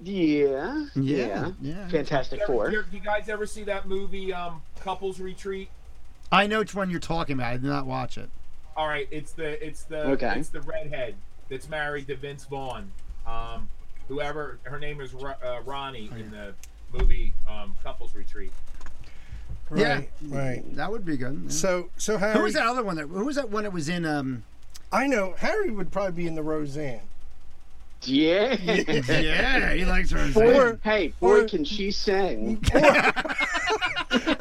[SPEAKER 7] Yeah. Yeah.
[SPEAKER 2] yeah.
[SPEAKER 7] Fantastic
[SPEAKER 4] Ever-
[SPEAKER 7] Four.
[SPEAKER 4] you- you guys ever see that movie, um, Couples Retreat?
[SPEAKER 2] I know which one you're talking about. I did not watch it.
[SPEAKER 4] All right, it's the it's the
[SPEAKER 7] Okay.
[SPEAKER 4] it's the redhead that's married to Vince Vaughn. Um, whoever her name is Ro- uh, Ronnie
[SPEAKER 3] Oh,
[SPEAKER 4] in the movie um, Couples Retreat.
[SPEAKER 3] Right. Right.
[SPEAKER 2] That would be good. yeah.
[SPEAKER 3] So so Harry.
[SPEAKER 2] Who was that other one? That who was that one that was in um?
[SPEAKER 3] I know Harry would probably be in the Roseanne.
[SPEAKER 7] Yeah.
[SPEAKER 2] Yeah, he likes her.
[SPEAKER 3] Or
[SPEAKER 7] Hey, boy,
[SPEAKER 3] Or-
[SPEAKER 7] can she sing!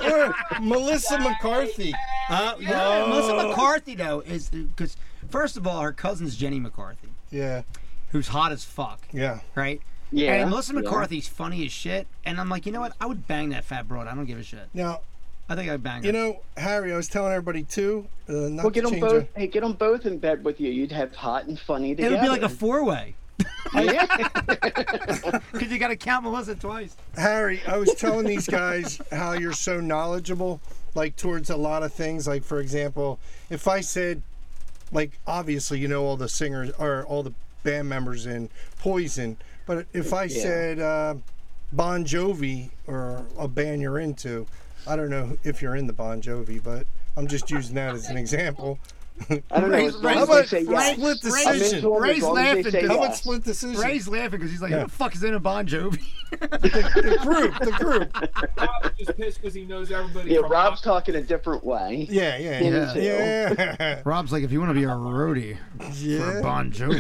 [SPEAKER 3] or Melissa McCarthy.
[SPEAKER 2] Uh, yeah, Melissa McCarthy though is because first of all, her cousin's Jenny McCarthy,
[SPEAKER 3] Yeah.
[SPEAKER 2] who's hot as fuck,
[SPEAKER 3] Yeah.
[SPEAKER 2] right?
[SPEAKER 7] Yeah,
[SPEAKER 2] And Melissa
[SPEAKER 7] yeah.
[SPEAKER 2] McCarthy's funny as shit, and I'm like, you know what? I would bang that fat broad. I don't give a shit.
[SPEAKER 3] Now
[SPEAKER 2] I think I'd bang her.
[SPEAKER 3] you know Harry. I was telling everybody too. Uh, not to
[SPEAKER 7] Well, get them
[SPEAKER 3] change
[SPEAKER 7] both.
[SPEAKER 3] our-
[SPEAKER 7] Hey, get them both in bed with you. You'd have hot and funny
[SPEAKER 2] it
[SPEAKER 7] together.
[SPEAKER 2] would be like a four way
[SPEAKER 7] yeah.
[SPEAKER 2] because you got to count Melissa twice.
[SPEAKER 3] Harry, I was telling these guys how you're so knowledgeable, like towards a lot of things. Like for example, if I said, like obviously you know all the singers or all the band members in Poison, but if I said uh, Bon Jovi or a band you're into, I don't know if you're into Bon Jovi, but I'm just using that as an example.
[SPEAKER 7] I don't know.
[SPEAKER 2] Ray-
[SPEAKER 7] As long
[SPEAKER 2] Ray-
[SPEAKER 7] as
[SPEAKER 2] how
[SPEAKER 7] they
[SPEAKER 2] about
[SPEAKER 7] say
[SPEAKER 2] Ray-
[SPEAKER 7] yes.
[SPEAKER 3] Split
[SPEAKER 2] Ray-
[SPEAKER 7] I'm
[SPEAKER 3] decision.
[SPEAKER 7] into 'em
[SPEAKER 2] Ray's
[SPEAKER 7] as long as they
[SPEAKER 2] laughing
[SPEAKER 7] say
[SPEAKER 3] How
[SPEAKER 7] yes.
[SPEAKER 3] about split decision?
[SPEAKER 2] Ray's laughing because he's like, who the fuck is in a Bon Jovi?
[SPEAKER 3] the group, the group.
[SPEAKER 4] Rob's just pissed because he knows everybody.
[SPEAKER 7] Yeah,
[SPEAKER 4] from
[SPEAKER 7] Rob's talking a different way.
[SPEAKER 3] Yeah, yeah, yeah,
[SPEAKER 7] Into.
[SPEAKER 3] yeah.
[SPEAKER 9] Rob's like, if you want to be a roadie for Bon Jovi,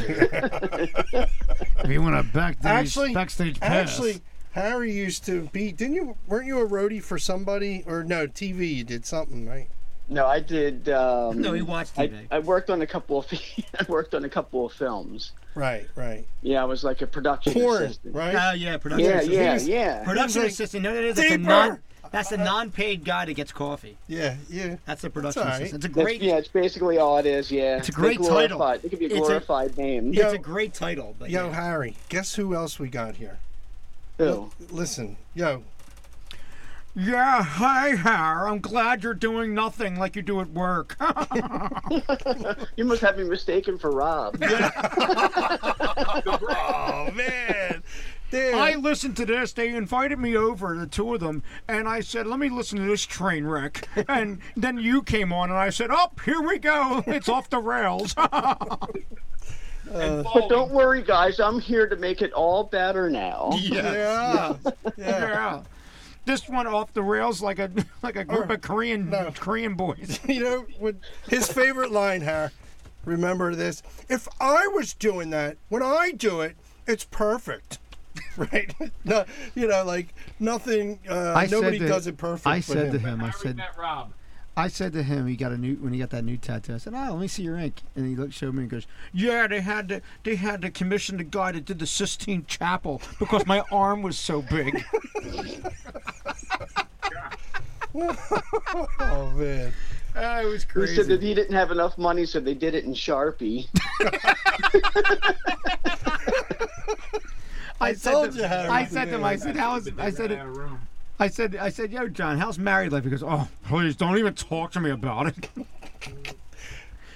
[SPEAKER 9] if you want to backstage
[SPEAKER 3] Actually-
[SPEAKER 9] backstage pass,
[SPEAKER 3] Actually, Harry used to be. Didn't you? Weren't you a roadie for somebody or no TV? You did something, right?
[SPEAKER 7] No, I did. Um,
[SPEAKER 2] No, he watched
[SPEAKER 7] I,
[SPEAKER 2] TV.
[SPEAKER 7] I worked on a couple of I worked on a couple of films.
[SPEAKER 3] Right, right.
[SPEAKER 7] Yeah, I was like a production
[SPEAKER 3] Porn,
[SPEAKER 7] assistant.
[SPEAKER 3] right?
[SPEAKER 2] Oh yeah, production.
[SPEAKER 7] Yeah,
[SPEAKER 2] assistant.
[SPEAKER 7] yeah,
[SPEAKER 3] he's-
[SPEAKER 7] yeah.
[SPEAKER 2] Production
[SPEAKER 3] He's like,
[SPEAKER 2] assistant. No, no, no. That's a
[SPEAKER 3] "Deeper!"
[SPEAKER 2] non. That's a non-paid guy that gets coffee.
[SPEAKER 3] yeah, yeah.
[SPEAKER 2] That's the production
[SPEAKER 3] all right.
[SPEAKER 2] assistant. It's a
[SPEAKER 7] That's,
[SPEAKER 2] great.
[SPEAKER 7] yeah, it's basically all it is. Yeah, it's
[SPEAKER 2] a great title.
[SPEAKER 7] It could be
[SPEAKER 2] It's
[SPEAKER 7] a
[SPEAKER 2] a-
[SPEAKER 7] glorified name.
[SPEAKER 2] It's
[SPEAKER 3] Yo,
[SPEAKER 2] a great title, but
[SPEAKER 3] yo,
[SPEAKER 2] yeah.
[SPEAKER 3] Harry. Guess who else we got here?
[SPEAKER 7] Who?
[SPEAKER 3] Listen, yo.
[SPEAKER 2] Yeah, hi, Har. I'm glad you're doing nothing like you do at work.
[SPEAKER 7] You must have me mistaken for Rob.
[SPEAKER 3] Oh man, dude.
[SPEAKER 2] I listened to this. They invited me over, the two of them, and I said, "Let me listen to this train wreck." And then you came on, and I said, "Up, here we go. It's off the rails."
[SPEAKER 3] Uh,
[SPEAKER 4] And
[SPEAKER 7] But don't worry, guys. I'm here to make it all better now.
[SPEAKER 3] yeah, yeah.
[SPEAKER 2] yeah. This one off the rails like a like a group of Korean Korean boys.
[SPEAKER 3] You know, with his favorite line, Harry. Remember this? If I was doing that, when I do it, it's perfect. Right? no, you know, like nothing. Uh,
[SPEAKER 9] I said
[SPEAKER 3] nobody
[SPEAKER 9] that-
[SPEAKER 3] does it perfect.
[SPEAKER 9] I
[SPEAKER 3] but
[SPEAKER 9] said
[SPEAKER 3] him.
[SPEAKER 9] to him, I
[SPEAKER 4] Harry
[SPEAKER 9] said,
[SPEAKER 4] met Rob.
[SPEAKER 9] I said to him, he got a new when he got that new tattoo. I said, "Ah, let me see your ink." And he looked, showed me, and goes,
[SPEAKER 2] Yeah, they had to they had to commission the guy that did the Sistine Chapel because my arm was so big.
[SPEAKER 3] Oh man.
[SPEAKER 2] it was
[SPEAKER 7] He said that he didn't have enough money, so they did it in Sharpie.
[SPEAKER 2] I,
[SPEAKER 3] told you how to
[SPEAKER 2] I
[SPEAKER 3] do
[SPEAKER 2] said to him,
[SPEAKER 3] it.
[SPEAKER 2] I said, "How's?"
[SPEAKER 4] But they
[SPEAKER 2] I said,
[SPEAKER 4] ran out of room.
[SPEAKER 2] "I said, I said, yo, John, how's married life?" He goes, "Oh, please, don't even talk to me about it."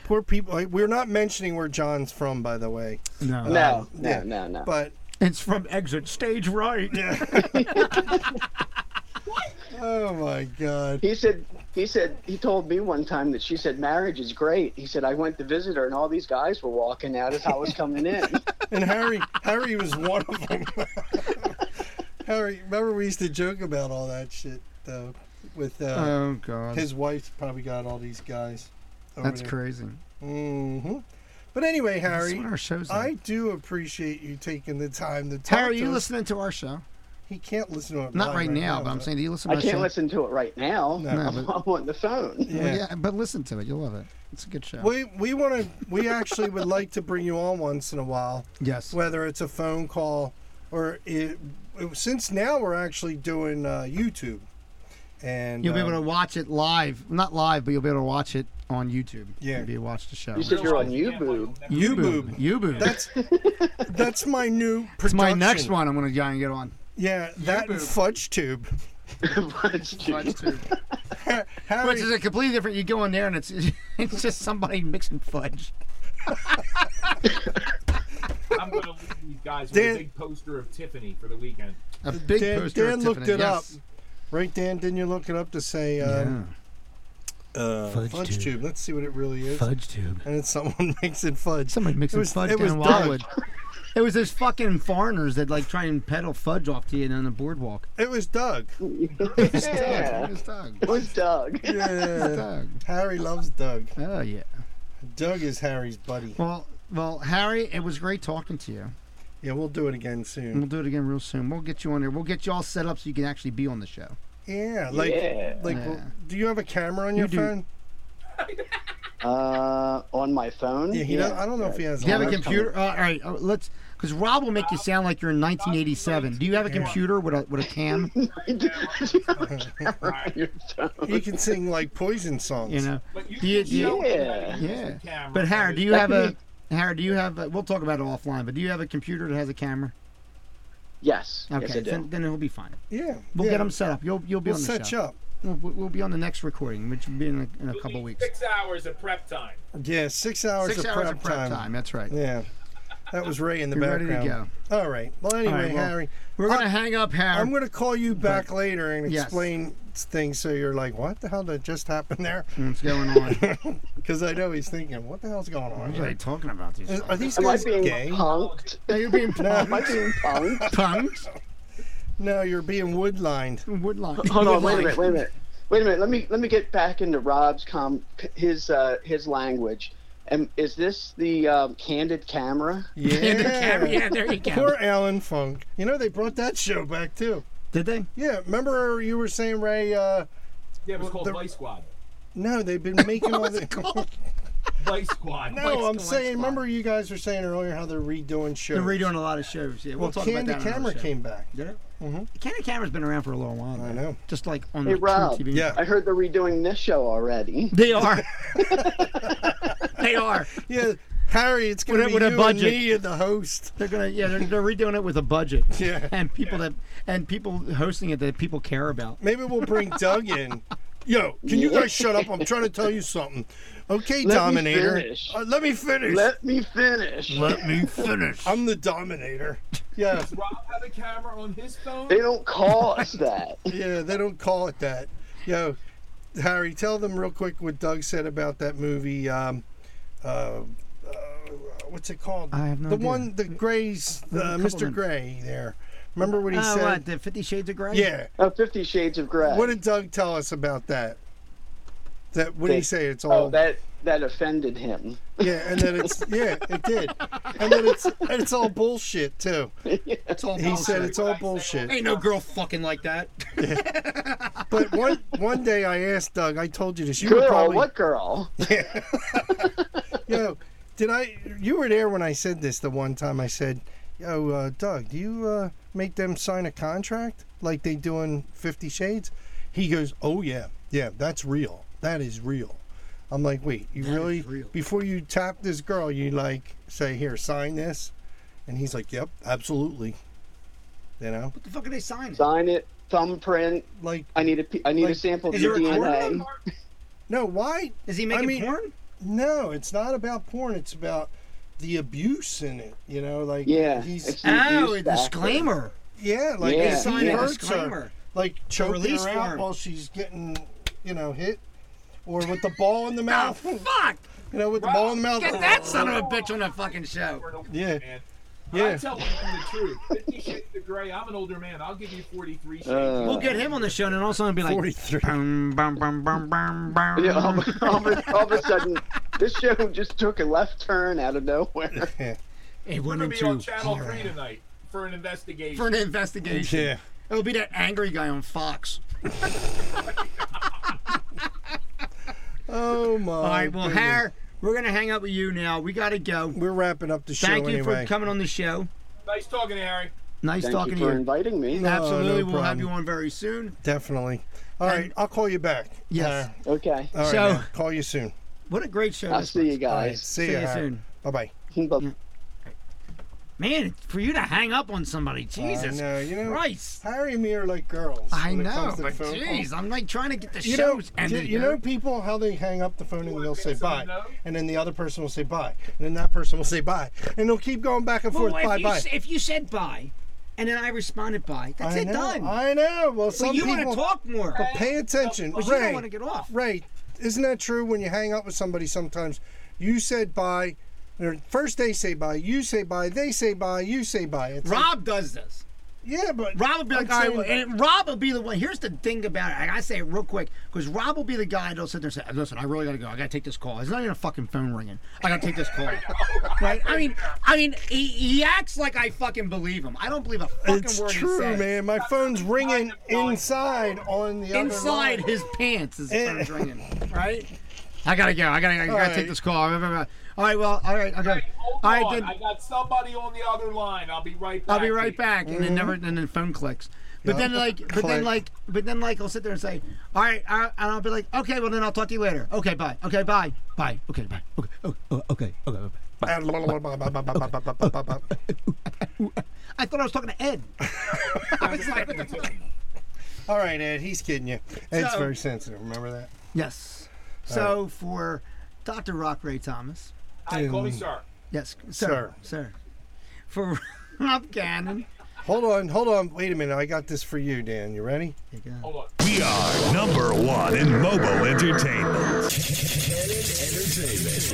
[SPEAKER 3] Poor people. Like, we're not mentioning where John's from, by the way.
[SPEAKER 2] No,
[SPEAKER 7] No,
[SPEAKER 3] yeah.
[SPEAKER 7] no, no, no.
[SPEAKER 3] But
[SPEAKER 2] it's from exit stage right.
[SPEAKER 3] oh my God.
[SPEAKER 7] He said, he said, he told me one time that she said marriage is great. He said I went to visit her, and all these guys were walking out as I was coming in.
[SPEAKER 3] And Harry, Harry was one of them. Harry, remember we used to joke about all that shit though, with uh,
[SPEAKER 9] "Oh God,
[SPEAKER 3] his wife's probably got all these guys.
[SPEAKER 9] that's crazy."
[SPEAKER 3] hmm But anyway,
[SPEAKER 9] That's
[SPEAKER 3] Harry,
[SPEAKER 9] what our show's
[SPEAKER 3] I
[SPEAKER 9] like.
[SPEAKER 3] do appreciate you taking the time to talk.
[SPEAKER 9] Harry,
[SPEAKER 3] to
[SPEAKER 9] you
[SPEAKER 3] us.
[SPEAKER 9] listening to our show?
[SPEAKER 3] He can't listen to it.
[SPEAKER 9] Not
[SPEAKER 3] live
[SPEAKER 9] right, now, but I'm saying, do you listen?
[SPEAKER 7] I
[SPEAKER 9] to our
[SPEAKER 7] can't
[SPEAKER 9] show?
[SPEAKER 7] listen to it right now.
[SPEAKER 9] No,
[SPEAKER 7] I'm,
[SPEAKER 9] but-
[SPEAKER 7] I'm on the phone.
[SPEAKER 9] Well,
[SPEAKER 3] Yeah.
[SPEAKER 9] yeah, but listen to it. You'll love it. It's a good show.
[SPEAKER 3] We we want to. We actually would like to bring you on once in a while.
[SPEAKER 9] yes.
[SPEAKER 3] whether it's a phone call or it, it- since now we're actually doing uh, YouTube, and
[SPEAKER 9] You'll be
[SPEAKER 3] um,
[SPEAKER 9] able to watch it live. Not live, but you'll be able to watch it
[SPEAKER 2] on YouTube.
[SPEAKER 3] Yeah.
[SPEAKER 2] If you watch the show.
[SPEAKER 7] You said you're on YouTube.
[SPEAKER 2] Uboob. Uboob. That's
[SPEAKER 3] That's my new production. That's
[SPEAKER 2] my next one I'm going to try and get on.
[SPEAKER 3] Yeah, that and
[SPEAKER 2] boob.
[SPEAKER 3] Fudge Tube.
[SPEAKER 2] Which
[SPEAKER 3] Harry,
[SPEAKER 2] is a completely different. You go in there and it's it's just somebody mixing fudge.
[SPEAKER 4] I'm going to leave you guys with
[SPEAKER 3] Dan-
[SPEAKER 4] a big poster of Tiffany for the weekend.
[SPEAKER 2] A big
[SPEAKER 3] Dan-
[SPEAKER 2] poster. of
[SPEAKER 3] Dan looked
[SPEAKER 2] Tiffany.
[SPEAKER 3] it
[SPEAKER 2] Yes.
[SPEAKER 3] right, Dan? Didn't you look it up to say um, uh, fudge,
[SPEAKER 2] Fudge
[SPEAKER 3] tube.
[SPEAKER 2] Tube.
[SPEAKER 3] Let's see what it really is.
[SPEAKER 2] Fudge tube.
[SPEAKER 3] And it's someone mixing fudge.
[SPEAKER 2] Somebody mixing
[SPEAKER 3] It was-
[SPEAKER 2] fudge
[SPEAKER 3] it was
[SPEAKER 2] down in
[SPEAKER 3] Dutch.
[SPEAKER 2] Wildwood. It was those fucking foreigners that like try and peddle fudge off to you on the boardwalk.
[SPEAKER 3] It was Doug.
[SPEAKER 7] yeah.
[SPEAKER 2] It was Doug.
[SPEAKER 7] It was Doug.
[SPEAKER 3] Yeah.
[SPEAKER 2] Doug.
[SPEAKER 3] Harry loves Doug.
[SPEAKER 2] Oh yeah.
[SPEAKER 3] Doug is Harry's buddy.
[SPEAKER 2] Well, well, Harry, it was great talking to you.
[SPEAKER 3] Yeah, we'll do it again
[SPEAKER 2] And
[SPEAKER 3] soon.
[SPEAKER 2] we'll do it again real soon. We'll get you on there. We'll get you all set up so you can actually be on the show.
[SPEAKER 3] Yeah, like,
[SPEAKER 7] Yeah.
[SPEAKER 3] like,
[SPEAKER 2] Yeah.
[SPEAKER 3] do you have a camera on your
[SPEAKER 2] do.
[SPEAKER 3] phone?
[SPEAKER 7] Uh, on my phone.
[SPEAKER 3] Yeah, he does, I don't know if he has.
[SPEAKER 2] Do you have a
[SPEAKER 3] one.
[SPEAKER 2] computer? Uh, all right, uh, let's. Because Rob will make you sound like you're in 1987. Do you have a computer with a with a cam?
[SPEAKER 3] He can sing like poison songs.
[SPEAKER 2] You know.
[SPEAKER 4] But you
[SPEAKER 2] Do you-
[SPEAKER 4] can
[SPEAKER 2] do you-
[SPEAKER 4] show everybody who's
[SPEAKER 2] Yeah.
[SPEAKER 4] the camera.
[SPEAKER 2] But Harry, do you
[SPEAKER 7] That
[SPEAKER 2] have a
[SPEAKER 7] could
[SPEAKER 2] Harry? Do you have? A, we'll talk about it offline. But do you have a computer that has a camera?
[SPEAKER 7] Yes.
[SPEAKER 2] Okay,
[SPEAKER 7] Yes, I
[SPEAKER 2] then,
[SPEAKER 7] do.
[SPEAKER 2] then he'll be fine.
[SPEAKER 3] Yeah,
[SPEAKER 2] We'll
[SPEAKER 3] yeah.
[SPEAKER 2] get him set up. You'll you'll be
[SPEAKER 3] We'll
[SPEAKER 2] on the
[SPEAKER 3] set
[SPEAKER 2] show.
[SPEAKER 3] you up.
[SPEAKER 2] We'll, we'll be on the next recording, which will be in a, in a
[SPEAKER 4] You'll
[SPEAKER 2] couple
[SPEAKER 4] need
[SPEAKER 2] weeks.
[SPEAKER 4] Six hours of prep time.
[SPEAKER 3] Yeah, six hours,
[SPEAKER 2] Six
[SPEAKER 3] of,
[SPEAKER 2] hours
[SPEAKER 3] prep
[SPEAKER 2] of prep
[SPEAKER 3] time.
[SPEAKER 2] time. That's right.
[SPEAKER 3] Yeah, that was Ray in the
[SPEAKER 2] You're ready to
[SPEAKER 3] background. go. All right. Well, anyway,
[SPEAKER 2] well,
[SPEAKER 3] Harry,
[SPEAKER 2] We're
[SPEAKER 3] I-
[SPEAKER 2] gonna hang up, Harry.
[SPEAKER 3] I'm going to call you back later and
[SPEAKER 2] Yes.
[SPEAKER 3] explain things so you're like, what the hell did just happen there?
[SPEAKER 2] What's going on?
[SPEAKER 3] Because I know he's thinking, what the hell's going on?
[SPEAKER 2] What are
[SPEAKER 3] here?
[SPEAKER 2] they talking about these?
[SPEAKER 3] Is-
[SPEAKER 2] fucking-
[SPEAKER 3] Are these
[SPEAKER 7] Am I
[SPEAKER 3] guys
[SPEAKER 7] being
[SPEAKER 3] gay?
[SPEAKER 7] punked?
[SPEAKER 2] Now you're being
[SPEAKER 7] Am I being punked?
[SPEAKER 2] punked.
[SPEAKER 3] No, you're being woodlined.
[SPEAKER 2] Woodline.
[SPEAKER 7] Hold on. Wait a minute. Wait a minute. Wait a minute. Let me let me get back into Rob's com his uh, his language. And is this the um, candid camera?
[SPEAKER 2] In the camera. Yeah, there you go.
[SPEAKER 3] Poor Alan Funk. You know they brought that show back too.
[SPEAKER 2] Did they?
[SPEAKER 3] Yeah, remember you were saying Ray? Uh,
[SPEAKER 4] Yeah, it was called
[SPEAKER 3] the-
[SPEAKER 4] Vice Squad.
[SPEAKER 3] no, they've been making all the.
[SPEAKER 4] Vice Squad.
[SPEAKER 3] no, I'm
[SPEAKER 2] Squad.
[SPEAKER 3] saying. Remember you guys were saying earlier how they're redoing shows.
[SPEAKER 2] They're redoing a lot of shows. Yeah, we'll,
[SPEAKER 3] Well,
[SPEAKER 2] talk
[SPEAKER 3] Can
[SPEAKER 2] about that.
[SPEAKER 3] the
[SPEAKER 2] on another
[SPEAKER 3] Camera
[SPEAKER 2] show.
[SPEAKER 3] came back.
[SPEAKER 2] Did it? Candy Camera's been around for a little while.
[SPEAKER 3] I
[SPEAKER 2] Now.
[SPEAKER 3] know.
[SPEAKER 2] Just like on
[SPEAKER 7] Hey,
[SPEAKER 2] the
[SPEAKER 7] Rob.
[SPEAKER 2] TV.
[SPEAKER 3] Yeah.
[SPEAKER 7] I heard they're redoing this show already.
[SPEAKER 2] They are. they are.
[SPEAKER 3] Yeah, Harry, it's gonna
[SPEAKER 2] With a-
[SPEAKER 3] be
[SPEAKER 2] with a
[SPEAKER 3] you
[SPEAKER 2] budget.
[SPEAKER 3] and me and the host.
[SPEAKER 2] They're gonna. Yeah, they're, they're redoing it with a budget.
[SPEAKER 3] Yeah.
[SPEAKER 2] And people that and people hosting it that people care about.
[SPEAKER 3] Maybe we'll bring Doug in. Yo, can you guys shut up? I'm trying to tell you something. Okay,
[SPEAKER 7] Let me
[SPEAKER 3] Dominator.
[SPEAKER 7] finish.
[SPEAKER 3] Uh, let me finish.
[SPEAKER 7] Let me finish.
[SPEAKER 2] me finish.
[SPEAKER 3] I'm the Dominator. Yeah,
[SPEAKER 4] Does Rob have a camera on his phone?
[SPEAKER 7] they don't call us that.
[SPEAKER 3] yeah, they don't call it that. Yo, Harry, tell them real quick what Doug said about that movie. Um, uh, uh, what's it called?
[SPEAKER 2] I have no
[SPEAKER 3] The
[SPEAKER 2] idea.
[SPEAKER 3] one, the Gray's, uh,
[SPEAKER 2] couple of
[SPEAKER 3] Mr.
[SPEAKER 2] them.
[SPEAKER 3] Gray there. Remember what he
[SPEAKER 2] Uh,
[SPEAKER 3] said?
[SPEAKER 2] what, the Fifty Shades of Grey?
[SPEAKER 3] Yeah.
[SPEAKER 7] Uh, Fifty Shades of Grey.
[SPEAKER 3] What did Doug tell us about that? That what did he
[SPEAKER 7] They-
[SPEAKER 3] say? It's all
[SPEAKER 7] oh, that that offended him.
[SPEAKER 3] yeah, and then it's yeah, it did, and then it's it's all bullshit too.
[SPEAKER 2] It's all
[SPEAKER 7] Oh,
[SPEAKER 3] He said it's all bullshit.
[SPEAKER 2] Ain't no girl fucking like that.
[SPEAKER 3] But one one day I asked Doug, I told you this. You were
[SPEAKER 7] Girl,
[SPEAKER 3] probably
[SPEAKER 7] what girl?
[SPEAKER 3] yo, did I? You were there when I said this the one time. I said, yo, uh, Doug, do you uh, make them sign a contract like they do in Fifty Shades? He goes, oh yeah, yeah, that's real. That is real. I'm like, wait, you really?
[SPEAKER 2] real.
[SPEAKER 3] Before you tap this girl, you like say, here, sign this, and he's like, yep, absolutely. You know,
[SPEAKER 2] What the fuck are they signing?
[SPEAKER 7] Sign it. Thumbprint.
[SPEAKER 3] like
[SPEAKER 7] I need a p- I need a
[SPEAKER 3] Like,
[SPEAKER 7] sample of
[SPEAKER 2] is
[SPEAKER 7] your
[SPEAKER 2] there a corner
[SPEAKER 7] DNA.
[SPEAKER 3] no, why?
[SPEAKER 2] Is he making
[SPEAKER 3] mean-
[SPEAKER 2] porn?
[SPEAKER 3] No, it's not about porn. It's about the abuse in it. You know, like
[SPEAKER 7] Yeah.
[SPEAKER 3] he's
[SPEAKER 7] it's the
[SPEAKER 2] Oh,
[SPEAKER 7] abuse
[SPEAKER 2] a
[SPEAKER 7] factor.
[SPEAKER 2] disclaimer.
[SPEAKER 3] Yeah, like
[SPEAKER 7] Yeah.
[SPEAKER 3] he
[SPEAKER 7] They sign
[SPEAKER 2] a
[SPEAKER 3] hurts her,
[SPEAKER 2] disclaimer.
[SPEAKER 3] like choking
[SPEAKER 2] release
[SPEAKER 3] her out
[SPEAKER 2] form.
[SPEAKER 3] while she's getting, you know, hit, or with the ball in the mouth.
[SPEAKER 2] Oh, Fuck!
[SPEAKER 3] you know, with the ball in the mouth.
[SPEAKER 2] Get that son of a bitch on the fucking show.
[SPEAKER 3] Yeah.
[SPEAKER 4] Man.
[SPEAKER 3] Yeah.
[SPEAKER 4] I tell them the truth. Fifty Shades of Grey. I'm an older man. I'll give you 43 shades.
[SPEAKER 7] Uh,
[SPEAKER 2] We'll get him on the show, and then all of a sudden be like,
[SPEAKER 3] 43.
[SPEAKER 2] Bum, bum, bum, bum, bum, bum.
[SPEAKER 7] Yeah, all, of- all of a- all of a sudden, this show just took a left turn out of nowhere.
[SPEAKER 2] It went
[SPEAKER 4] We're gonna be on
[SPEAKER 2] into
[SPEAKER 4] Channel Three tonight for an investigation.
[SPEAKER 2] for an investigation.
[SPEAKER 3] Yeah.
[SPEAKER 2] It'll be that angry guy on Fox.
[SPEAKER 3] Oh my.
[SPEAKER 2] All right, well,
[SPEAKER 3] goodness.
[SPEAKER 2] Har, we're gonna hang up with you now. We gotta go.
[SPEAKER 3] We're wrapping up the show
[SPEAKER 2] Thank you
[SPEAKER 3] anyway.
[SPEAKER 2] for coming on the show.
[SPEAKER 4] nice talking, to Harry.
[SPEAKER 2] Nice
[SPEAKER 7] Thank
[SPEAKER 2] talking
[SPEAKER 7] you
[SPEAKER 2] to
[SPEAKER 7] for
[SPEAKER 2] you.
[SPEAKER 7] inviting me.
[SPEAKER 3] No,
[SPEAKER 2] Absolutely,
[SPEAKER 3] no
[SPEAKER 2] we'll have
[SPEAKER 3] problem.
[SPEAKER 2] you on very soon.
[SPEAKER 3] Definitely. All right, I'll call you back.
[SPEAKER 2] Yes.
[SPEAKER 3] Uh,
[SPEAKER 7] Okay.
[SPEAKER 3] all right,
[SPEAKER 2] So-
[SPEAKER 3] man. call you soon.
[SPEAKER 2] What a great show.
[SPEAKER 7] I'll
[SPEAKER 2] this
[SPEAKER 7] see
[SPEAKER 2] was.
[SPEAKER 7] you guys.
[SPEAKER 2] See
[SPEAKER 3] See, ya.
[SPEAKER 2] you soon.
[SPEAKER 3] Bye bye.
[SPEAKER 7] Bye.
[SPEAKER 2] Man, for you to hang up on somebody, Jesus
[SPEAKER 3] no, you know,
[SPEAKER 2] Christ.
[SPEAKER 3] Harry and me are like girls.
[SPEAKER 2] I
[SPEAKER 3] when it
[SPEAKER 2] know,
[SPEAKER 3] comes to
[SPEAKER 2] but
[SPEAKER 3] phone
[SPEAKER 2] jeez,
[SPEAKER 3] calls.
[SPEAKER 2] I'm like trying to get the
[SPEAKER 3] You know,
[SPEAKER 2] shows
[SPEAKER 3] you,
[SPEAKER 2] ended.
[SPEAKER 3] you know people how they hang up the phone and they'll say
[SPEAKER 4] it's a
[SPEAKER 3] bye,
[SPEAKER 4] no?
[SPEAKER 3] and then the other person will say bye, and then that person will say bye, and they'll keep going back and
[SPEAKER 2] Well,
[SPEAKER 3] forth.
[SPEAKER 2] if,
[SPEAKER 3] Bye
[SPEAKER 2] you,
[SPEAKER 3] bye.
[SPEAKER 2] s- if you said bye, and then I responded bye, that's
[SPEAKER 3] I
[SPEAKER 2] it
[SPEAKER 3] know,
[SPEAKER 2] done.
[SPEAKER 3] I know. Well,
[SPEAKER 2] but
[SPEAKER 3] some
[SPEAKER 2] you want
[SPEAKER 3] people
[SPEAKER 2] to talk more.
[SPEAKER 3] pay attention.
[SPEAKER 2] But you
[SPEAKER 3] Ray,
[SPEAKER 2] don't want to get off.
[SPEAKER 3] Ray, isn't that true? When you hang up with somebody, sometimes you said bye. or First they say bye, you say bye, they say bye, you say bye. It's like,
[SPEAKER 2] Rob does this.
[SPEAKER 3] yeah, but
[SPEAKER 2] Rob will be like,
[SPEAKER 3] I'm
[SPEAKER 2] all right,
[SPEAKER 3] saying-
[SPEAKER 2] well, and Rob will be the one. Here's the thing about it. I gotta say it real quick because Rob will be the guy that'll sit there and say, "Listen, I really gotta go. I gotta take this call. It's not even a fucking phone ringing. I gotta take this call." right? I mean, I mean, he, he acts like I fucking believe him. I don't believe a fucking
[SPEAKER 3] It's
[SPEAKER 2] word he
[SPEAKER 3] true,
[SPEAKER 2] says.
[SPEAKER 3] man. My phone's ringing inside on the
[SPEAKER 2] Inside his pants is
[SPEAKER 3] Eh.
[SPEAKER 2] phone's ringing. Right? I gotta go. I gotta. I gotta
[SPEAKER 3] All right.
[SPEAKER 2] take this call. All right. Well. All right. Okay.
[SPEAKER 4] Hold
[SPEAKER 2] I
[SPEAKER 4] on.
[SPEAKER 2] did-
[SPEAKER 4] I got somebody on the other line. I'll be right back.
[SPEAKER 2] I'll be right
[SPEAKER 4] to you.
[SPEAKER 2] back, and then never, and then phone clicks. But then like, but then
[SPEAKER 3] Click.
[SPEAKER 2] like, but then like, I'll sit there and say, all right, all right," and I'll be like, okay, well then I'll talk to you later. Okay, bye. Okay, bye. Bye. Okay, bye. Okay. Oh, oh, okay. Okay. bye.
[SPEAKER 3] other.
[SPEAKER 2] I thought I was talking to Ed. I was like, what the fuck?
[SPEAKER 3] All right, Ed, he's kidding you. Ed's
[SPEAKER 2] So-
[SPEAKER 3] very sensitive. Remember that?
[SPEAKER 2] yes. So for Dr. Rock Ray Thomas,
[SPEAKER 4] Hi, call me sir.
[SPEAKER 2] yes, sir, sir, for Rob Gannon.
[SPEAKER 3] Hold on, hold on. Wait a minute. I got this for you, Dan. You ready?
[SPEAKER 2] Oh.
[SPEAKER 4] Hold on.
[SPEAKER 10] We are number one in mobile entertainment.
[SPEAKER 11] Entertainment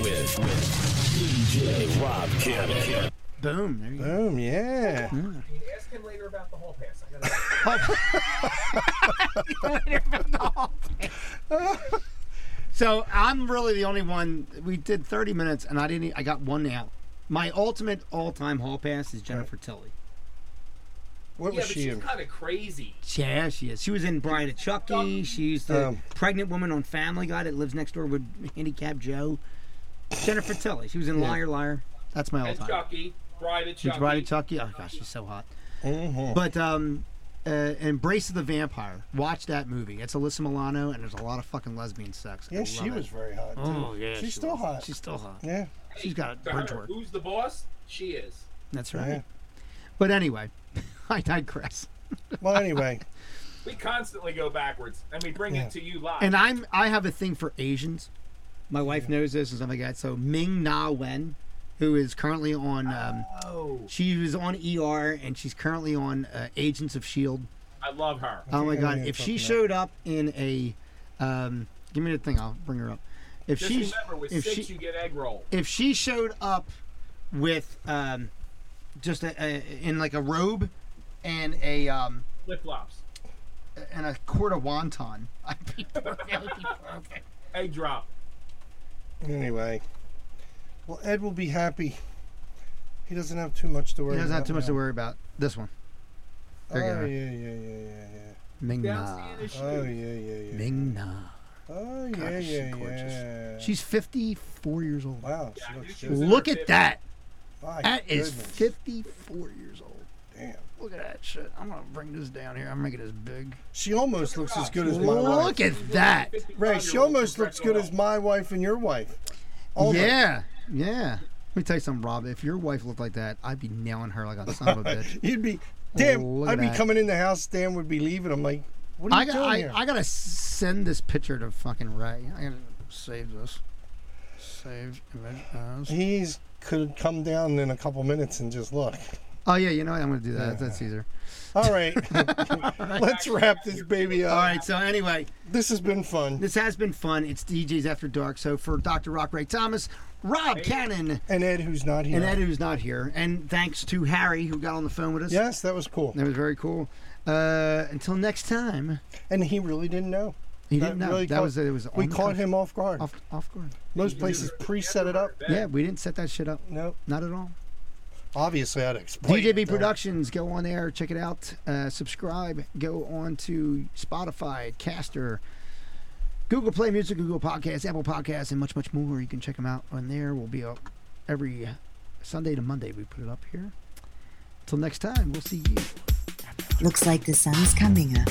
[SPEAKER 11] with, DJ Rob Cannon.
[SPEAKER 2] Boom. There you go.
[SPEAKER 3] Boom. Yeah.
[SPEAKER 4] Ask him later about the hall pass. I gotta
[SPEAKER 2] So I'm really the only one. We did 30 minutes, and I didn't. e- I got one out. My ultimate all-time hall pass is Jennifer Tilly.
[SPEAKER 3] What
[SPEAKER 4] yeah,
[SPEAKER 3] was
[SPEAKER 4] but
[SPEAKER 3] she
[SPEAKER 4] she's
[SPEAKER 3] in?
[SPEAKER 4] kind of crazy.
[SPEAKER 2] Yeah, she is. She was in Bride of Chucky. She's the
[SPEAKER 3] Um,
[SPEAKER 2] pregnant woman on Family Guy that lives next door with handicapped Joe. Jennifer Tilly. She was in Liar Liar. That's my
[SPEAKER 4] And
[SPEAKER 2] all-time.
[SPEAKER 4] Chucky, Bride of
[SPEAKER 2] She's
[SPEAKER 4] Chucky.
[SPEAKER 2] Bride of Chucky. Oh gosh, she's so hot.
[SPEAKER 3] Mm-hmm.
[SPEAKER 2] But um, uh, Embrace of the Vampire. Watch that movie. It's Alyssa Milano, and there's a lot of fucking lesbian sex. I
[SPEAKER 3] Yeah, she
[SPEAKER 2] love it.
[SPEAKER 3] was very hot. Too.
[SPEAKER 2] Oh yeah,
[SPEAKER 3] she's
[SPEAKER 2] she
[SPEAKER 3] still
[SPEAKER 2] was.
[SPEAKER 3] hot.
[SPEAKER 2] She's still hot.
[SPEAKER 3] yeah.
[SPEAKER 2] She's got
[SPEAKER 4] To
[SPEAKER 2] bridge
[SPEAKER 4] her,
[SPEAKER 2] work.
[SPEAKER 4] Who's the boss? She is.
[SPEAKER 2] That's right.
[SPEAKER 3] Yeah.
[SPEAKER 2] But anyway, I digress.
[SPEAKER 3] Well, anyway,
[SPEAKER 4] We constantly go backwards, and we bring
[SPEAKER 3] Yeah.
[SPEAKER 4] it to you live.
[SPEAKER 2] And I'm I have a thing for Asians. My wife knows this and stuff like that. So Ming Na Wen, who is currently on, um,
[SPEAKER 4] oh,
[SPEAKER 2] she was on ER and she's currently on uh, Agents of Shield.
[SPEAKER 4] I love her.
[SPEAKER 2] Oh my
[SPEAKER 3] I know
[SPEAKER 2] God!
[SPEAKER 3] you're
[SPEAKER 2] If she
[SPEAKER 3] talking
[SPEAKER 2] showed up in a, um, give me the thing. I'll bring her up. If
[SPEAKER 4] Just
[SPEAKER 2] she's
[SPEAKER 4] remember, with
[SPEAKER 2] if
[SPEAKER 4] six
[SPEAKER 2] she
[SPEAKER 4] you get egg roll.
[SPEAKER 2] if she showed up with um, just a, a in like a robe and a um,
[SPEAKER 4] Flip flops,
[SPEAKER 2] and a quart of wonton. I'd be perfect. I'd be perfect.
[SPEAKER 4] egg drop.
[SPEAKER 3] anyway. Well, Ed will be happy. He doesn't have too much to worry.
[SPEAKER 2] He doesn't have
[SPEAKER 3] about
[SPEAKER 2] too much
[SPEAKER 3] now.
[SPEAKER 2] to worry about. This one. There
[SPEAKER 3] Oh
[SPEAKER 2] you
[SPEAKER 3] yeah, yeah, yeah, yeah, yeah.
[SPEAKER 2] go. Ming
[SPEAKER 4] That's
[SPEAKER 2] Na.
[SPEAKER 4] the issue.
[SPEAKER 3] Oh yeah, yeah, yeah.
[SPEAKER 2] Ming Na.
[SPEAKER 3] Oh yeah,
[SPEAKER 2] Gosh, she's
[SPEAKER 3] yeah,
[SPEAKER 2] gorgeous.
[SPEAKER 3] yeah.
[SPEAKER 2] She's 54 years old.
[SPEAKER 3] wow. She
[SPEAKER 4] Yeah,
[SPEAKER 3] looks
[SPEAKER 4] you
[SPEAKER 3] good.
[SPEAKER 4] choose-
[SPEAKER 2] Look
[SPEAKER 4] Fifty.
[SPEAKER 2] at that.
[SPEAKER 3] My
[SPEAKER 2] That is
[SPEAKER 3] goodness.
[SPEAKER 2] 54 years old.
[SPEAKER 3] Damn.
[SPEAKER 2] Look at that shit. I'm going to bring this down here. I'm making this big.
[SPEAKER 3] She almost looks as good as my wife.
[SPEAKER 2] Look at that.
[SPEAKER 4] 55
[SPEAKER 3] Ray,
[SPEAKER 4] year
[SPEAKER 3] she
[SPEAKER 4] old
[SPEAKER 3] almost looks good as
[SPEAKER 4] professional.
[SPEAKER 3] my wife and your wife. Almost.
[SPEAKER 2] Yeah. Yeah. Let me tell you something, Rob. If your wife looked like that, I'd be nailing her like a son of a bitch.
[SPEAKER 3] You'd be, damn,
[SPEAKER 2] Oh, look at
[SPEAKER 3] I'd be
[SPEAKER 2] that.
[SPEAKER 3] coming in the house, Dan would be leaving. I'm like, what are
[SPEAKER 2] I,
[SPEAKER 3] you
[SPEAKER 2] got,
[SPEAKER 3] doing
[SPEAKER 2] I,
[SPEAKER 3] here?
[SPEAKER 2] I gotta send this picture to fucking Ray. I gotta save this. Save image as.
[SPEAKER 3] He's could come down in a couple minutes and just look.
[SPEAKER 2] Oh yeah, you know what? I'm gonna do that. That's easier.
[SPEAKER 3] All right. Let's wrap this baby up.
[SPEAKER 2] All right. So anyway,
[SPEAKER 3] This has been fun.
[SPEAKER 2] this has been fun. It's DJs After Dark. So for Dr. Rock Ray Thomas, Rob Cannon,
[SPEAKER 3] And Ed, who's not here.
[SPEAKER 2] and Ed who's not here, and thanks to Harry who got on the phone with us.
[SPEAKER 3] yes, that was cool.
[SPEAKER 2] That was very cool. Uh, until next time,
[SPEAKER 3] And he really didn't know.
[SPEAKER 2] he
[SPEAKER 3] That
[SPEAKER 2] didn't know
[SPEAKER 3] really
[SPEAKER 2] that
[SPEAKER 3] caught-
[SPEAKER 2] was it. Was
[SPEAKER 3] We
[SPEAKER 2] on the
[SPEAKER 3] caught
[SPEAKER 2] cuff.
[SPEAKER 3] him off guard.
[SPEAKER 2] off off guard.
[SPEAKER 3] Most places pre-set it up.
[SPEAKER 2] Yeah, we didn't set that shit up.
[SPEAKER 3] No,
[SPEAKER 2] Not at all.
[SPEAKER 3] obviously I'd explain.
[SPEAKER 2] DJB
[SPEAKER 3] it, though.
[SPEAKER 2] Productions, go on there, check it out, uh, subscribe, go on to Spotify, Caster, Google Play Music, Google Podcasts, Apple Podcasts, and much, much more. You can check them out on there. We'll be up every Sunday to Monday. We put it up here. Till next time, we'll see you.
[SPEAKER 1] Looks like the sun's coming up.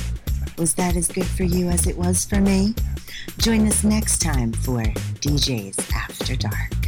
[SPEAKER 1] Was that as good for you as it was for me? Join us next time for DJs After Dark.